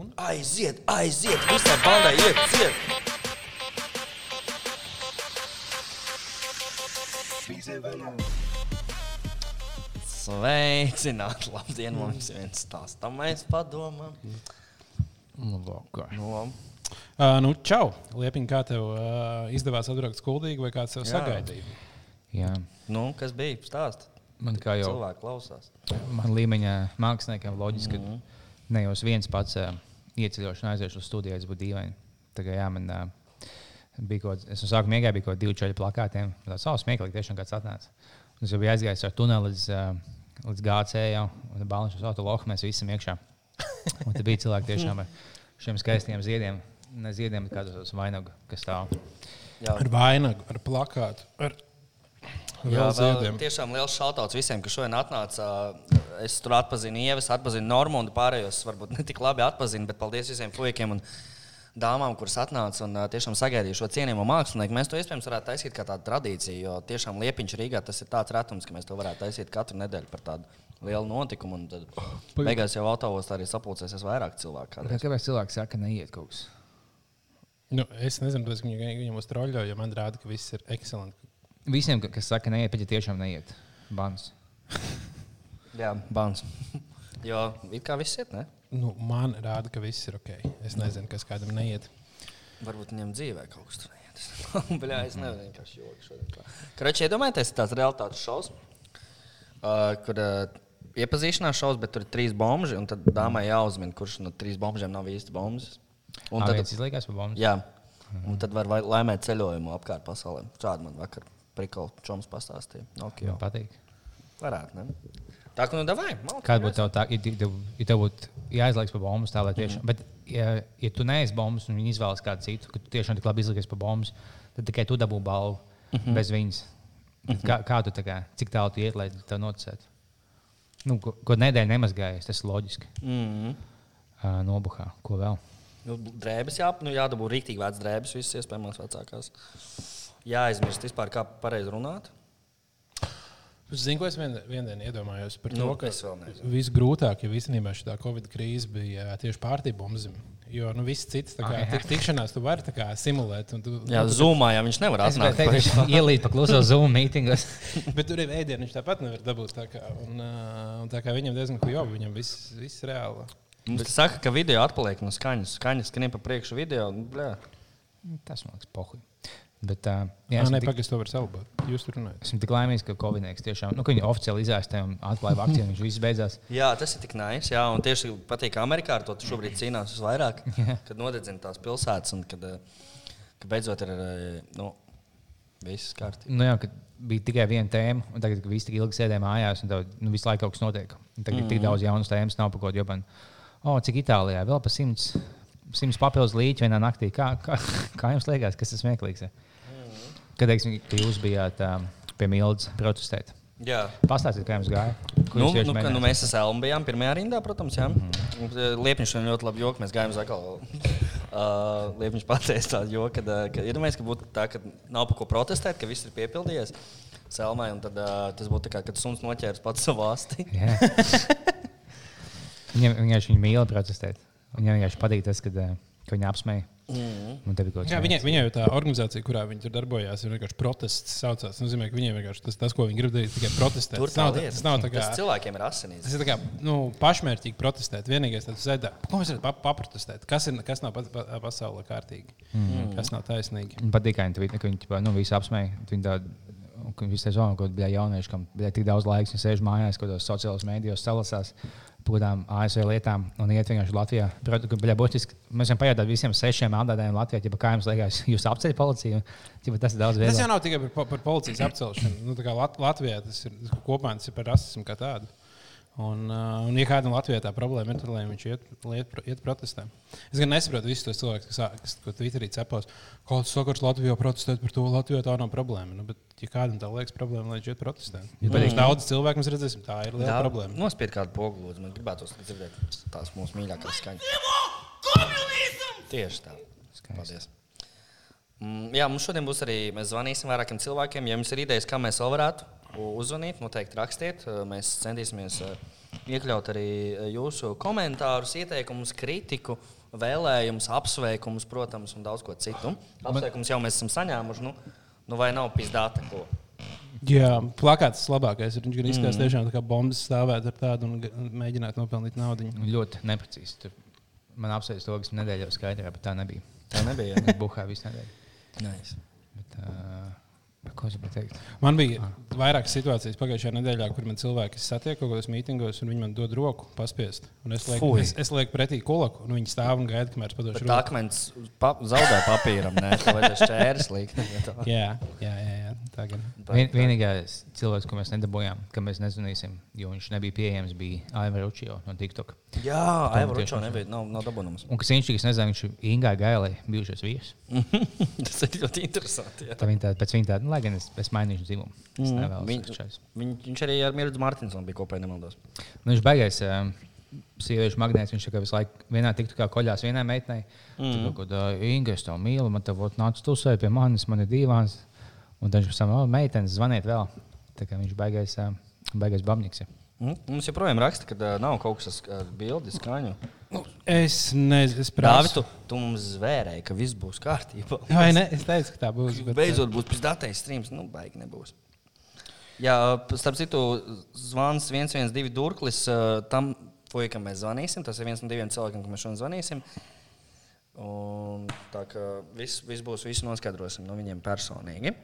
Un? Aiziet, aiziet, visā balē iet, ciet! Sveicināti! Labdien, mums ir viens tās tam mēs padomām. Loko. No, Uh, nu, čau! Liepiņ, kā tev uh, izdevās atbraukt skuldīgi, vai kāds tev Jā. sagaidīja? Jā. nu, kas bija? Stāst. Man kā jau Cilvēki klausās. man līmeņa māksliniekam loģiski, ka ne jau es viens pats ā, ieceļošu un aiziešu uz studiju, tas būtu dīvaini. Tagad, jā, man, ā, bija kaut, es no sākuma iegāju, bija kaut kādi divi čaļi plakātiem. Tas savs smieklīgi tiešām kāds atnāca. Un Es jau biju aizgājis ar tuneli līdz, ā, līdz GC jau, un balniņš uz autolohu mēs visi esam iekšā. Un tur bija cilvēki tiešām ar šiem skaistiem ziediem. Ne ziediem, bet kādos vainagu, kas stāv. Jā, Ar vainagu, ar plakātu, ar Jā, vēl vēl ziediem. tiešām liels šautauts visiem, kas šodien atnāca. Es tur atpazinu Ievas, atpazinu Normundu, pārējos varbūt ne tik labi atpazinu, bet paldies visiem puikiem un dāmām, kuras atnāca un ā, tiešām sagaidīju šo cienījamo mākslinieku. Mēs to iespējams varētu taisīt kā tādu tradīciju, jo tiešām Liepiņš Rīgā tas ir tāds retums, ka mēs to varētu taisīt katru nedēļu par tādu lielu notikumu. un Tad beigās jau autovos arī sapulcēsies vairāk cilvēku. kādreiz. Kāpēc cilvēki saka, neiet kaut kas? Nu, es nezinu, kāpēc viņi viņam uztroļo, jo man rāda, ka viss ir ekscelents. Visiem, ka- kas saka, neiet, bet ja tiešām neiet. Bans. Jā, bans. Jo it kā viss ir, ne? Nu, man rāda, ka viss ir ok. Es nezinu, kas kādam neiet. Varbūt viņam dzīvē kaut kas tur neiet. Bļā, es Mhm. nezinu, kas ir joks. Kraķis, iedomājieties, tas ir realitātes šovs, uh, kur uh, iepazīšanās šovs, bet tur ir trīs bomži, un tad dāmai jāuzmina, kurš no trīs bomžiem nav īsti bombas. Un Un tad tad, viss izlaižās par bumbu. jā, Mhm. un tad var vai- laimēt ceļojumu apkārt pasaulē. Šādi man vakar prikal čoms pastāstīja. Okay, Man patīk. Varētu, ne? Tā kā nu davai, malk. Kāda būtu tā, ja tev- ja tev būtu jāizlaiž par bumbu? Tā lai tiešām. Mm -hmm. Bet, ja, ja tu neesi bumbu un viņi izvēlas kādu citu, ka tu tiešām tik labi izlaižies par bumbu, tad tikai tu dabū balvu mm -hmm. bez viņas. Tad Kā, kā tu tā kā, cik tālu tu iet, lai tev noticētu? Nu, ko, ko nedēļu nemazgājies, tas ir loģiski. Mm -hmm. Uh, nobuhā, ko vēl? Nu, drēbes jā, nu, jādabū rīktīgi vērts drēbes, visas iespējamās vecākās. Jāaizmirst vispār, kā pareizi runāt. Zinu, ko es vien, vien dienu iedomājos par to, Nu, ka es vēl nezinu. visgrūtāk jau īstenībā šī Covid krīze bija ā, tieši pārtībumzim. Jo nu, viss cits, tā kā Ah, jā. tik, tikšanās, tu vari tā kā simulēt. un Tu, Jā, zumā, ja viņš nevar Es gribēju atnākt. teikt, ka ielīdz paklausos Zoom mītingos. Bet tur ir ēdienu, viņš tāpat nevar dabūt. Tā kā, un, ā, un tā kā viņam diezgan kujobi, viņam viss, viss reāli. Mums te saka, ka video atpaliek no skaņas. Skaņas skan pa priekšu video. Nu, bļā. Tas man liekas pohuļ. Bet, uh, Jā, jā, esmu nē, tik- pagaidi, to var salabot. Jūs tur runājat. Esmu tik laimīgs, ka Covid-19 tiešām nu, ka viņi oficiāli izārstēja un atklāja vakcīnu. Viņš viss beidzās. Jā, tas ir tik nais. Jā, un tieši patīk, ka Amerikā ar to šobrīd cīnās visvairāk. Kad nodedzina tās pilsētas un kad, eh, kad beidzot ir eh, nu, viss kārtībā. Nu, jā, kad bija tikai viena tēma, un tagad, kad viss tik ilgi sēdēja mājās, un tev, nu, visu laiku kaut kas notiek. Un Tagad mm -hmm. tik daudz jaunas tēmas nav pakot. Jo, man, oh, cik Itālijā vēl pa simts, simts papildus līķu vienā naktī. Kā, kā, kā jums liekas, kas tas smieklīgs? ir? Kad teiksim, ka jūs bijāt um, pie Mildes protestēt? Jā. Pastāstiet, kā jums gāja? Ko Nu, jūs tieši nu, ka, nu, mēģinājāt? mēs ar Elmu bijām pirmajā rindā, protams. Mm Mhm. -hmm. Liepiņš bija ļoti labi joks. Mēs gājām uz atkal. Uh, Liepiņš pateica tādu joku, ka, ā, ka ir domājis, ka būtu tā, ka nav pa ko protestēt, ka viss ir piepildījies. Selmai, un tad uh, tas būtu tā kā, kad suns noķēris pats savu asti. Jā. Viņam vienkārši viņa mīl protestēt. Viņam vienkārši patīk tas, kad, eh, ka viņa apsmēja. Un tev bija kaut kas Mhm. Jā, viņai, viņai jau tā organizācija, kurā viņi tur darbojās, ir vienkārši protests. Saucās, Tas nozīmē, ka viņiem vienkārši tas, tas ko viņi grib darīt, ir tikai protestēt. Tur tas nav, tā lieta. tas nav tā kā. Tas cilvēkiem ir asinīs. Tas ir tā kā, nu, pašmērķīgi protestēt. Vienīgais, kas ir, ko mēs varam paprotestēt, kas, ir, kas nav pa, pa, pasaulē kārtīgi, mm. kas nav taisnīgi. Man patīk, ka viņi tvītne, ka viņi ķipā, nu, visu apsmēja. Viņi tādi, un ka viņi sezonā kaut kādā jauniešu, kam bija tik daudz laiks, viņi sēž mājās, kaut kādos sociālajos mēdījos salasās. Pūtām ASV lietām un iet vienkārši Latvijā. Protams, ka bija būtiski. Mēs jau pajautājām visiem sešiem atbildējiem Latvijā, ja kā jums liekas, jūs apceļat policiju. Ķipa, tas ir daudz Tas jau vieglāk. nav tikai par, po- par policijas apcelšanu. Nu, tā kā Lat Latvijā tas ir kopumā tas ir par rasismu kā tādu. Un, uh, un ja kādam Latvijā tā problēma ir, tad lai viņš iet, lai iet, pro- iet protestē. Es gan nesaprotu visus tos cilvēkus, kas, ā- kas ko Twitterī cepos. Kaut kas sakars Latvijā protestēt par to, Latvijā tā nav problēma. Nu, bet, ja kādam tā liekas problēma, lai viņš iet protestē. Ja mm. Daudz cilvēku mēs redzēsim, tā ir liela Jā, Jā. problēma. Nospied kādu pogu, lūdzu. Man gribētu dzirdēt tās mūsu mīļākās skaņas. Tieši tā. Paldies. Mm, Jā, mums šodien būs arī. Mēs zvanīsim vairākiem cilvēkiem. Ja jums ir idejas, kā mēs vēl varētu u- uzzvanīt, noteikti rakstiet. Eh, Mēs centīsimies eh, iekļaut arī eh, jūsu komentārus, ieteikumus, kritiku, vēlējumus, apsveikumus, protams, un daudz ko citu. Apsveikumus jau mēs esam saņēmuši. Nu, nu vai nav pizdāta ko? Jā, plakāts labākais ir. Viņš gan izskatās mm. tiešām tā kā bombas stāvēt ar tādu un ga- un mēģināt nopelnīt naudu. Ļoti neprecīzi. Tur man apsveic to, kas nedēļā jau skaidrā, bet tā nebija. Tā nebija. Es buhāju visu nedēļu. Nice. Bet, uh, ko es gribēju teikt? Man bija vairākas situācijas pagājušajā nedēļā, kur man cilvēki satiek kaut kādos mītingos, un viņi man dod roku paspiest. Un es lieku, Fui. es, es lieku pretī kolaku, un viņi stāv un gaida, kamēr es padošu Bet tā akmens pa, zaudē papīram, nē, tā vai tas čērs līnijas. Jā, jā, jā, jā, tā gan. Vien, vienīgais cilvēks, ko mēs nedabūjām, ka mēs nezvanīsim, jo viņš nebija pieejams, bija Aivar Učio no TikTok. Jā, Aivručo nebija, nav, nav dabūnums. Un kas viņš tikai nezināja, viņš ir Ingūna Gailē, bijušais vīrs. Tas ir ļoti interesanti. jā. Tā viņa tāda, pēc viņa tāda, nu, lai gan es, es mainīšu dzimumu. Es nevēlos to Mm, Viņ, šādu. viņ, viņš arī ar Mirdu Martinsonu bija kopā, ja nemaldos. Nu, viņš beigās um, sieviešu magnēts. Viņš tā kā visu laiku vienā tiktu kā koļās vienai meitenei. Mm. Tur kaut kā Inga, es tev mīlu, man te būtu nācis tusēt pie manis, man ir divāns. Un tad viņš man teica, meitenes, zvaniet vēl. Tā kā viņš beigās, um, beigās babniks. ir. Mm, Mums joprojām raksta, ka ā, nav kaut kas tāds, bildi, skaņu. Nu, Es nezinu, Dāvis, es prātu. tu, tu mums zvērēji, ka viss būs kārtībā. Vai ne? Es teicu, ka tā būs. Bet, Beidzot būs pizdatējs streams, nu, baigi nebūs. Jā, p- starp citu, zvans 112 durklis ā, tam puikam mēs zvanīsim. Tas ir viens no diviem cilvēkiem, kam mēs šodien zvanīsim. Un tā kā viss vis būs, visu noskaidrosim no viņiem personīgi.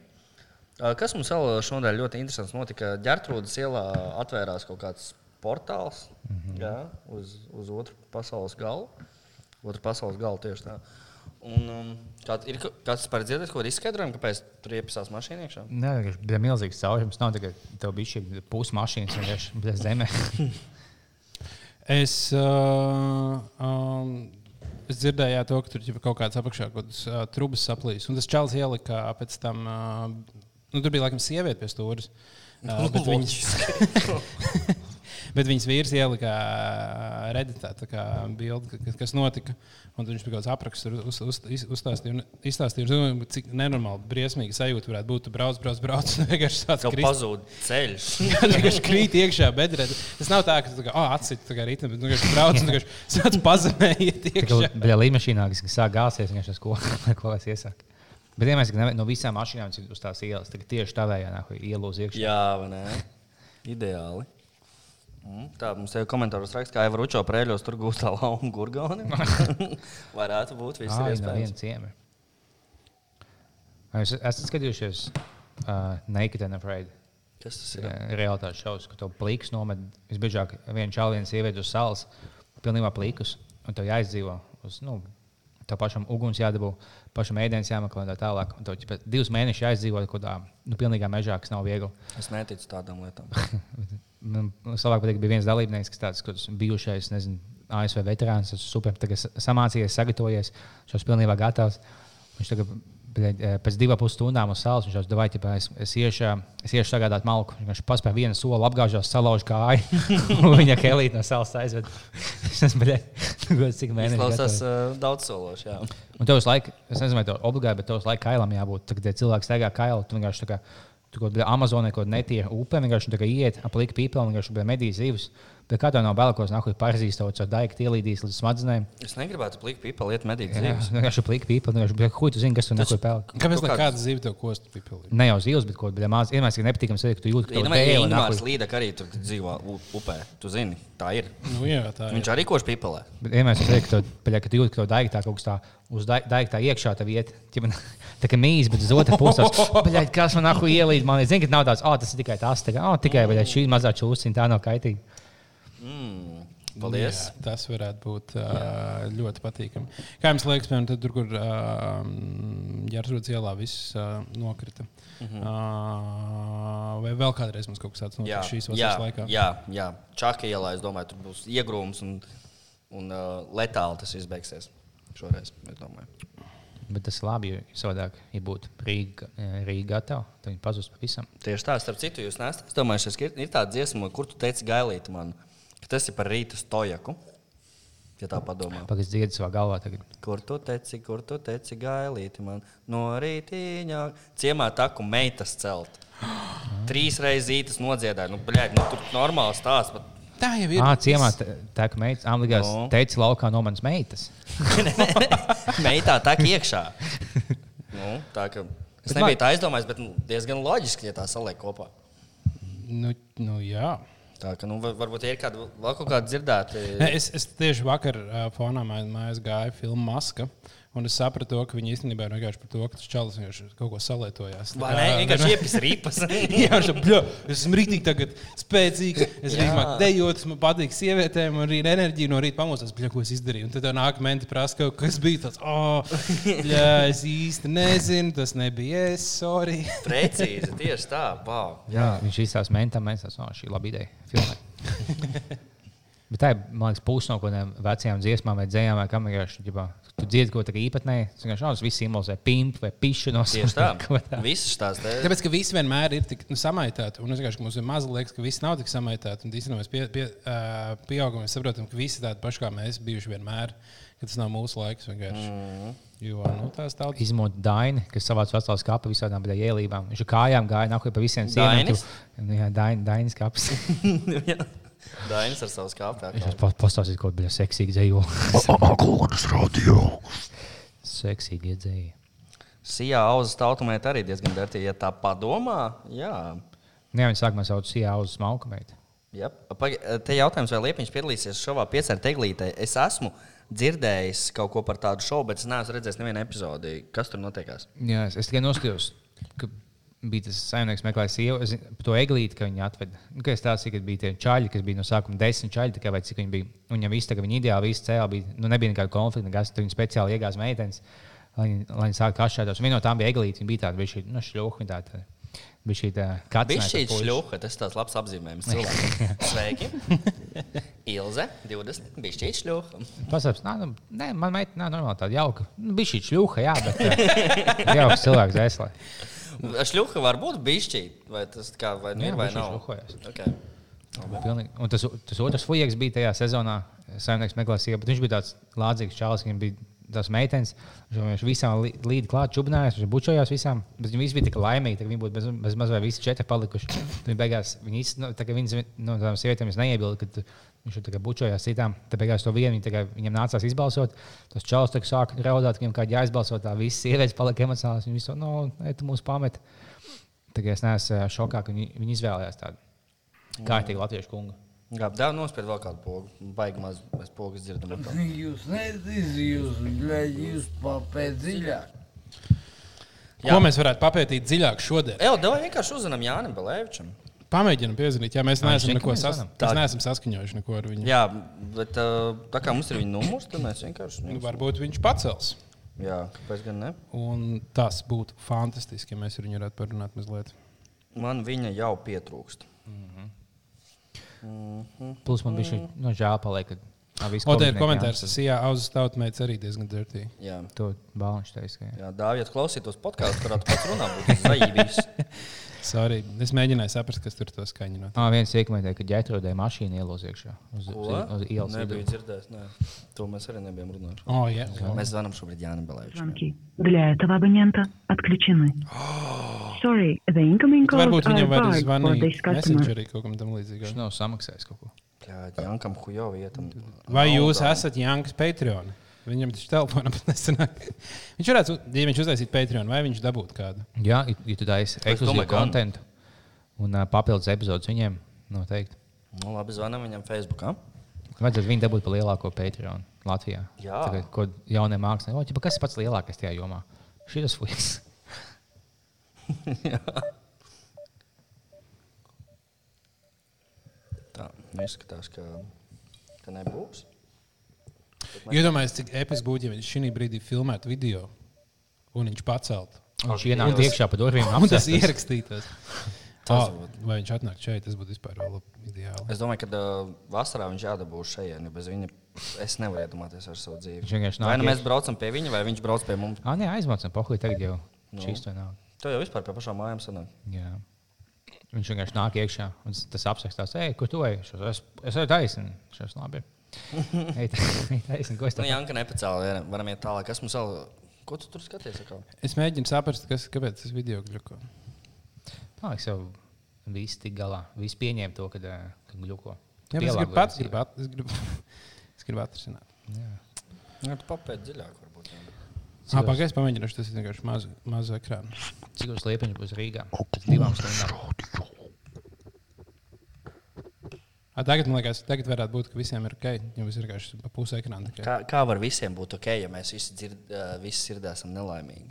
Ā, Kas mums vēl šodien ļoti interesants notika? Gertrūdas ielā atvērās kaut kāds portāls mm -hmm. jā, uz, uz otru pasaules galu. Otru pasaules galu tieši tā. Un, um, kā, ir ka- kāds par dzirdēt, ko ir izskaidrojumi, kāpēc tur iepasās mašīnā iekšā? Nē, vienkārši bija milzīgs caurums. Nav tikai tev bija šī pusi mašīnas, vienkārši bez zemē. Es, uh, um, es dzirdēju, jā, to, ka tur ģipa, kaut kāds apakšā kaut kādas uh, trubas saplīs. Un tas čels ielika pēc tam, uh, nu, tur bija laikam sieviete pie stūres. Uh, bet viņas- Bet viņas vīrs ielika ā, Redditā, tā kā bildi, ka- kas notika. Un tad viņš bija kaut kāds apraksts, tur uz, uz, iz- uzstāstīja, un izstāstīja, es domāju, cik nenormāli, briesmīgi sajūta varētu būt. Tu brauc, brauc, brauc. un Vienkārši tāds Tev pazūd ceļš. Jā, vienkārši krīt iekšā bedrē. Tas nav tā, ka tu tā kā, oh, atsit, tā kā rītam, bet vienkārši brauc un vienkārši sāc pazemē iet iekšā. Bija līnija, kas sāk gāzties, un es ko, ko es iesaku. Bet vienmēr, ka no visām mašīnām, kas ir uz tās ielas, tagad tieši tā vējā nāk, ielūz iekšā. Jā, vai ne? Ideāli. Mm, Tā mums te komentāros raksta, ka Aivručo prēļos tur gūstā lauma gurgoni. Varētu būt viss ir Ai, nu no iespējams. viena ciema. Es esmu skatījušies uh, Naked and Afraid. Kas tas ir? Re- Realitātes šovs, ka to plīks nomet visbiežāk viena čāla, viena sieviete uz salas, pilnībā plīkus, un tev jāizdzīvo. Uz, nu, tev pašam uguns jādabū, pašam ēdienas jāmeklē un tā tālāk. Un tev ķipa, divus mēnešus jāizdzīvo kaut kādā nu, pilnīgā mežā, kas nav viegli. Es neticu tādām lietām. Man savāk Nu, patīk, bija viens dalībnieks, kas tāds, kurš bijušais, nezinu, ASV veterāns, tas super tagad sa- samācījies, sagatavojies, šos pilnībā gatavs. Viņš tagad, bļaļ, eh, pēc divām pusstundām uz salas, viņš jau devās, ka es, es, iešu, es iešu sagādāt malku. Viņš vienkārši paspēja vienu soli, apgāžās, salauž kāju, un viņa helīte no salas aizved. Tas bija cik mēnesis. Izklausās uh, daudz sološi. jā. Un tev uz laiku, es nezinu, vai tev obligāti, bet tev uz laiku kailam jābūt. Tad, kad cilvēks staigā kailu, tu vienkārši tā kā tu kaut kādā Amazonē, kaut kādā netīra upē, vienkārši tā kā iet, aplīk pīpēlu, vienkārši bija medīs zivs. Bet kā tev nav bail, ko es nāku parzīs, tev caur daiku ielīdīs līdz smadzenēm. Es negribētu plikt pīpa lietu medīt Jā, dzīves. Vienkārši aplīk pīpēlu, vienkārši bija huļ, tu zini, kas tur neko pelk. Kāpēc Kaut lai kāds- kāda zīve tev kostu pipilīt? Ne jau zivs, bet kaut kāda mazā iedomājās, ka nepatīkams, ka tu jūti, ka tev Ir dēli Ingūns nahuj. Līdek arī tur dzīvo u- upē. Tu zini, tā ir. Nu, jā, tā ir. Viņš arī kož pipelē. Bet vienmēr ir tā, ka tu jūti, ka tev daiga tā kaut kas tā, uz daiga tā iekšā tā vieta, ķipa, tā kā mīs, bet uz otru pusi - kas man nahu ielīd, man liekas, ka nav tāds, ah, tas ir tikai tas, tā kā, ah, tikai vai šī mazā čūsciņa tā nav kaitīga. Mm. Paldies. Jā, tas varētu būt uh, ļoti patīkami. Kā jums liekas, piemēram, tad, tur, kur uh, Jārsūdas ielā viss uh, nokrita? Mm Mhm. -hmm. uh, vai vēl kādreiz mums kaut kas tāds notika šīs jā, vasaras laikā? jā, jā. Čaka ielā, es domāju, tur būs iegrūms un, un uh, letāli tas viss beigsies. Šoreiz, es domāju. Bet tas labi, jo savādāk, ja būtu Rīga, Rīga gatava, tad viņi pazūst pavisam. Tieši tā, starp citu, jūs nesat. Es domāju, šis ir, ir tāds dziesma, kur tu teici gailīt man, ka tas ir par rītu stojaku. Ja tā padomā. Pagaids dziedas savā galvā tagad. Kur tu teici, kur tu teici gailīti man no rītīņa? Ciemā taku meitas celt. Trīs reizes ītas nodziedāja. Nu, bļaļ, nu, tur normāls stāsts. Bet... Tā jau ir. Ah, ciemā te- tā kā meitas, Anglijā Nu. teica, laukā no manas meitas. Meitā tā kā iekšā. Nu, tā, ka es Bet nebiju man- tā aizdomājis, bet nu, diezgan loģiski, ja tā saliek kopā. Nu, nu, jā. Tā kā nu, var- varbūt ir kāda vēl kaut kāda dzirdēta. Ne, es, es tieši vakar uh, fonā mājā mājās gāju filmu Maska. Un es sapratu, to, ka viņi īstenībā ir vienkārši par to, ka tas čalis vienkārši kaut ko salietojās. Vai ne? Vienkārši iepis ripas. Jā, viņš ir bļo. Es esmu rītīgi tagad spēcīgs. Es rītīgi dejojos, man patīk sievietēm, un arī enerģija no rīta pamostas, bļo, ko es izdarīju. Un tad tev nāk menti prasa, ka, kas bija tāds, oh, bļo, es īsti nezinu, tas nebija es, sorry. Precīzi, tieši tā. Wow. Jā. Viņš izstāsta mentā, mēs esam, no, šī ir laba ideja filmai. Bet tā ir, man liekas, puse no kaut kādām vecajām dziesmām vai dzējām, vai kam vienkārši, ģipā, tu dziedi kaut kā īpatnēji, tas vienkārši nav, tas viss simbolizē pimpu vai pišu no Tieši kaut kā tā. Visas tās te- Tāpēc, ka viss vienmēr ir tik nu, samaitāts, un es vienkārši mums ir maz liekas, ka viss nav tik samaitāts. Un īstenībā mēs pie, pie, uh, pieaugam, mēs saprotam, ka visi tādi paši kā mēs bijuši vienmēr, ka tas nav mūsu laiks vienkārši. Mhm. Mm. Jo nu, tās tautas. Izmot Daini, kas savāca vecā skāpā visādām tādā ielībām. Viņš ar kājām gāja nākamajā pa visiem ciemiem. Dainis? Tu- Jā, Daini, Dainis kāps. Jā. Dainis ar savu skāpēm. Viņš pats pastāstīs kaut kādu seksīgu dzēju. Aglūnas radio. Seksīgi dzēju. Sijā auzas tautumēta arī diezgan dertīga. Ja tā padomā, jā. Nē, Nu viņa sākumā sauc Sijā uz smalku meitu. Jā, te jautājums, vai Liepiņš piedalīsies šovā piecēlā teglītē. Es esmu dzirdējis kaut ko par tādu šovu, bet es neesmu redzējis nevienu epizodi. Kas tur notiekās? Jā, es, es tikai noskatījos, ka bija tas saimnieks, meklējis sievu, es, zinu, par to eglīti, ka viņi atveda. Nu, ka es tās tikai biju tie čaļi, kas bija no sākuma desmit čaļi, tikai vai cik viņi bija. Un Viņam viss tagad bija ideāli, viss cēlā bija, nu nebija nekāda konflikta, nekas, tur viņi speciāli iegāz meitenes, lai viņi, lai viņi sāktu kašķētos. Viena no tām bija eglīte, viņa bija tāda, bija šī, nu, šļūka, viņa tāda. Bija šī tā kā Bija šī šļūka, tas tāds labs apzīmējums cilvēkam. Sveiki! Ilze, 20. Bija šī šļūka. Pasakās, nā, nu, nē, man meita, nā, normāli tāda jauka. Nu, bija šī šļūka, jā, bet ā, jauks cilvēks aizslēdz. Šļūka var būt bišķī, vai tas kā, vai nu Jā, ir vai bišķi nav. šļuhojas. Okay. Pilnīgi. Un tas, tas otrs fujaks bija tajā sezonā, saimnieks meklēja sievu, bet viņš bija tāds lādzīgs čalis, viņam bija tās meitenes, viņš vienkārši visām lī- līdzi klāt čubinājās, viņš bučojās visām, bet viņi visi bija tik laimīgi, ka viņi būtu bez, bez maz vai visi četri palikuši. Tad Viņi beigās, viņi iz- nu, tā kā viens no tām sievietēm es neiebildu, ka tu- viņš tur tā kā bučojās citām, tad beigās to vienu viņi tā kā- viņam nācās izbalsot, tas čalis tā kā sāka raudāt, ka viņam kādā jāizbalso, tā visas sievietes palika emocionālas, viņi visu, no, nē, tu mūs pameti. Tagad es neesmu ā, šokā, ka viņi, viņi izvēlējās tādu kārtīgu latviešu kungu. Jā, dāvā nospied vēl kādu pogu. Baigi maz mēs pogas dzirdam. atkal. Jūs nezināt, jūs, bļaļ, jūs papēc dziļāk. Ko mēs varētu papētīt dziļāk šodien? Ej, dāvā vienkārši uzzinām Jānim Belēvičam. Pamēģinam piezīmēt, ja mēs neesam šeit neko mēs sas... varam. mēs neesam saskaņojuši neko ar viņu. Jā, bet uh, tā kā mums ir viņa numurs, tad mēs vienkārši. Nu, Varbūt viņš pacels. Jā, kāpēc gan ne? Un tas būtu fantastiski, ja mēs ar viņu varētu parunāt mazliet. Man viņa jau pietrūkst. Plus man bija šī no žēl paliek, ka nav viss O, te ir komentārs. Jā, auzas tautmēts arī diezgan dirtīgi. Jā, To balniņš teica, ka jā. jā dāvājiet, klausītos podkāstu, kurā tu pats runā, būtu zaļīgs. Sorry, es mēģināju saprast, kas tur to skaņu no. Ah, viens iekomentēja, ka ģētrūdē mašīna ielos iekšā uz, uz, uz ielas. Nebiju vidu. dzirdējis, nē. To mēs arī nebijām runājuši. Oh, jā, Mēs zvanām šobrīd Jānam Belēvičam. Звонки для этого абонента отключены. Sorry, the incoming Tu calls varbūt are viņam var barred for this zvanīt customer. messengerī kaut kam tam līdzīgam. Viņš nav samaksājis kaut ko. Jā, Jankam Hujo vietam. Vai jūs esat Jankas Patreon? Viņam taču telefonam pat nesanāk. Viņš varētu, ja viņš uztaisītu Patreon, vai viņš dabūtu kādu? Jā, ja- ja tu taisi ekskluzīvu domāju, ka gan. kontentu un uh, papildus epizodus viņiem noteikti. Nu, labi, zvanām viņam Facebookā. Vajadzētu viņu dabūt par lielāko Patreon Latvijā. Jā. Tagad, ko jaunie mākslinieki, "O, ķipa, kas ir pats lielākais tajā jomā? Šis fuks. Tā, nu izskatās, ka, ka nebūs. Iedomājieties, cik episki būtu, ja viņš šī brīdī filmētu video un viņš paceltu. Viņš ienāk iekšā pa durvīm. Un tas apsēstos. ierakstītos. Oh, vai viņš atnāk šeit, tas būtu vispār vēl ideāli. Es domāju, ka uh, vasarā viņš jādabūs šeit. Bez viņa es nevaru iedomāties ar savu dzīvi. Viņš vienkārši Vai nu nāk iekšā. mēs braucam pie viņa, vai viņš brauc pie mums? Ah, nē, aizmācām, pohuļ, tagad jau šīs to nav. To jau vispār pie pašām mājām sanāk. Jā. Viņš vienkārši nāk iekšā un s- tas apsakstās, ej, kur tu ej? Šos, es, es esmu taisnība. Šis labi. ir." Ej, taisnība. Ko es Nu, tādu? Jā, ka nepacēlīja. Varam iet tālāk. Kas mums vēl? Ko tu tur skaties? atkal? Es mēģinu saprast, kas, kāpēc tas video gluko. Man liekas, jau viss tik galā. Visi pieņēma to, eh, kad, ā, kad gluko. Jā, bet es gribu pats, gribu at- es gribu, es gribu atrisināt. Nu, tu papēdi dziļāk, varbūt. jā. Ah, Pagaidiet, pamēģināšu, tas ir vienkārši maz, maz ekrāna. Cik tas liepiņš būs Rīgā? Divām stundām. Ah, tagad, man liekas, tagad varētu būt, ka visiem ir ok, ja viss ir vienkārši pa pusi ekrāna. tikai. Kā, kā var visiem būt ok, ja mēs visi, dzird, ā, visi sirdī esam nelaimīgi?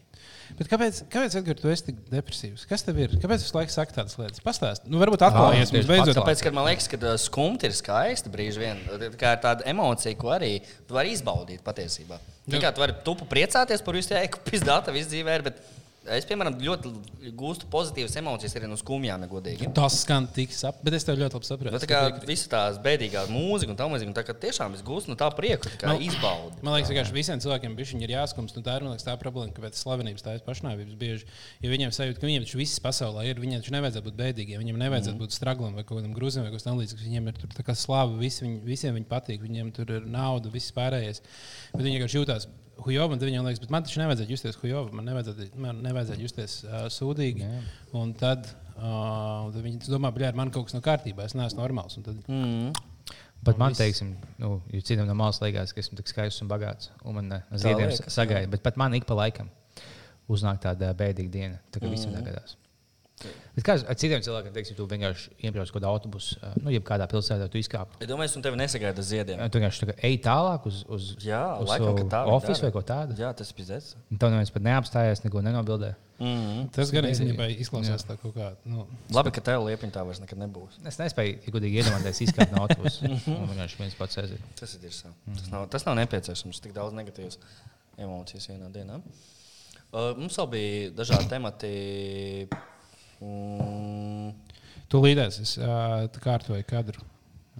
Bet kāpēc, kāpēc Edgars, tu esi tik depresīvs? Kas tev ir? Kāpēc visu laiku saka tādas lietas? Pastāst, nu, varbūt atklājies tieši mums beidzot. pacelā. Tāpēc, kad man liekas, ka skumta ir skaista brīži vien, uh, tā kā ir tāda emocija, ko arī tu vari izbaudīt patiesībā. Jā. Tikai tu vari tupu priecāties par visu, ja pizdāta viss dzīvē ir. bet Es, piemēram, ļoti gūstu pozitīvas emocijas arī no skumjām, ja godīgi. Tas skan tik sapņot, bet es tev ļoti labi saprotu. Nu, tā kā visas tās bēdīgās mūzikas un tā tālāk, tā kā tiešām es gūstu no tā prieku, ka Nu. Man- izbaudu. Man liekas, ka visiem cilvēkiem bišķiņ ir jāskumst. un Tā ir man liekas, tā problēma, ka pēc slavenības tā ir pašnāvības bieži. Ja viņiem sajūt, ka viņiem taču viss pasaulē ir, viņiem taču nevajadzētu būt bēdīgiem, viņiem nevajadzētu mm. būt straglam vai kaut kādam grūzim vai kaut kam līdzīgam. Viņiem ir tur tā kā slava, visi, viņ, visiem viņi patīk, viņiem tur ir nauda, viss pārējais. Bet viņi vienkārši jūtas. Hujovam, tad viņam liekas, bet man taču nevajadzētu justies hujovam, man nevajadzētu, man nevajadzētu justies uh, sūdīgi. Yeah. Un tad, uh, un tad viņi domā, ka man kaut kas nav kārtībā, es neesmu normāls. Un Tad, mm. Bet man, teiksim, nu, jo citam no malas liekas, ka esmu tik skaists un bagāts, un man eh, ziediem liekas, sagaida. Bet man ik pa laikam uznāk tāda eh, bēdīga diena, tā kā Mm. visam negadās. Bet kā ar citiem cilvēkiem, teiksim, tu vienkārši iebrauc kaut kādā autobusā, nu, jebkādā pilsētā, tu izkāp. eh, Es domāju, un tevi nesagaida ziediem. Tu vienkārši tā kā ej tālāk uz, uz, Jā, uz laikam, ka tā. viņi oficiālu dara. vai ko tādu. Jā, tas ir pizdzēts. Un Tev neviens pat neapstājās, neko nenobildē. Mm. Tas gan īstenībā izklausās tā kaut kā. Nu, Labi, ka tev liepiņa tā vairs nekad nebūs. Es nespēju, ja godīgi iedomāties, izkāpt no autobusa. Un Vienkārši viens pats aiziet. Tas ir dirsā. Tas nav, tas nav nepieciešams. Tik daudz negatīvas emocijas vienā dienā. Uh, mums vēl bija dažādi temati. Mm, Tu līdēs, es ā, tā kārtoju kadru.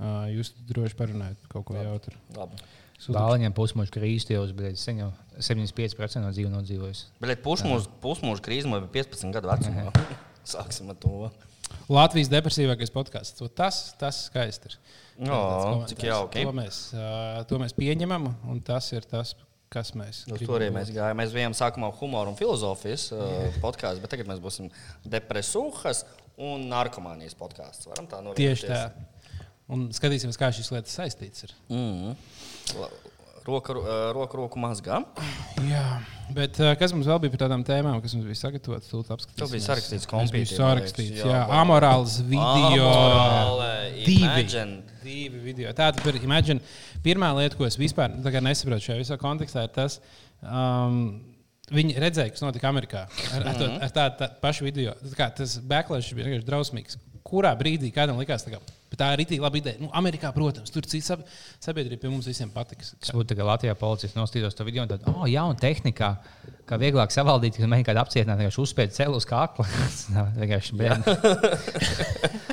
Ā, Jūs droši parunājat kaut ko jautru. labi. Bāliņiem pusmuļš krīzes jau bija sen jau 75% no dzīves nodzīvojis. Bet pusmūža krīze man bija 15 gadu vecumā. Sāksim ar to. Latvijas depresīvākais podkāsts. O, Tas, tas skaisti ir. Jā, Tāds cik komentārs. jauki. To mēs, ā, to mēs pieņemam, un tas ir tas, kas mēs Uz gribam Nu, to arī būt. mēs gājām. Mēs bijām sākumā humora un filozofijas uh, podkāstā, bet tagad mēs būsim depresūhas un narkomānijas podkāsts. Varam tā norādīt. Tieši tā. Un skatīsimies, kā šīs lietas saistītas ir. Mm. La- Roka, ro- uh, roka roku mazgā. Jā, bet ā, kas mums vēl bija par tādām tēmām, kas mums bija sagatavotas? Tūlīt apskatīsim. Tu biji sarakstīts Mums bija kompītī, man liekas. sarakstīts, Jā, jā, vai- amorāls video. Amorāli, Divi. imagine. Divi video. Tātad, par Imagine, pirmā lieta, ko es vispār tā kā nesaprotu šajā visā kontekstā, ir tas, um, viņi redzēja, kas notika Amerikā ar, ar, to, ar tādu tā, pašu video. Tā kā, tas backlash bija vienkārši drausmīgs. Kurā brīdī kādam likās, tā, kā, "Bet tā ir itī laba ideja? Nu, Amerikā, protams, tur cits sab- sabiedrība pie mums visiem patiks. Tas būtu tā, ka Latvijā policijas nostīdos to video un tādu oh, jaunu tehniku, kā vieglāk savaldīt, kad mēģināt kādu apcietināt, vienkārši uzspiež celu uz kakla. Tas nav vienkārši nu, bēdīgi.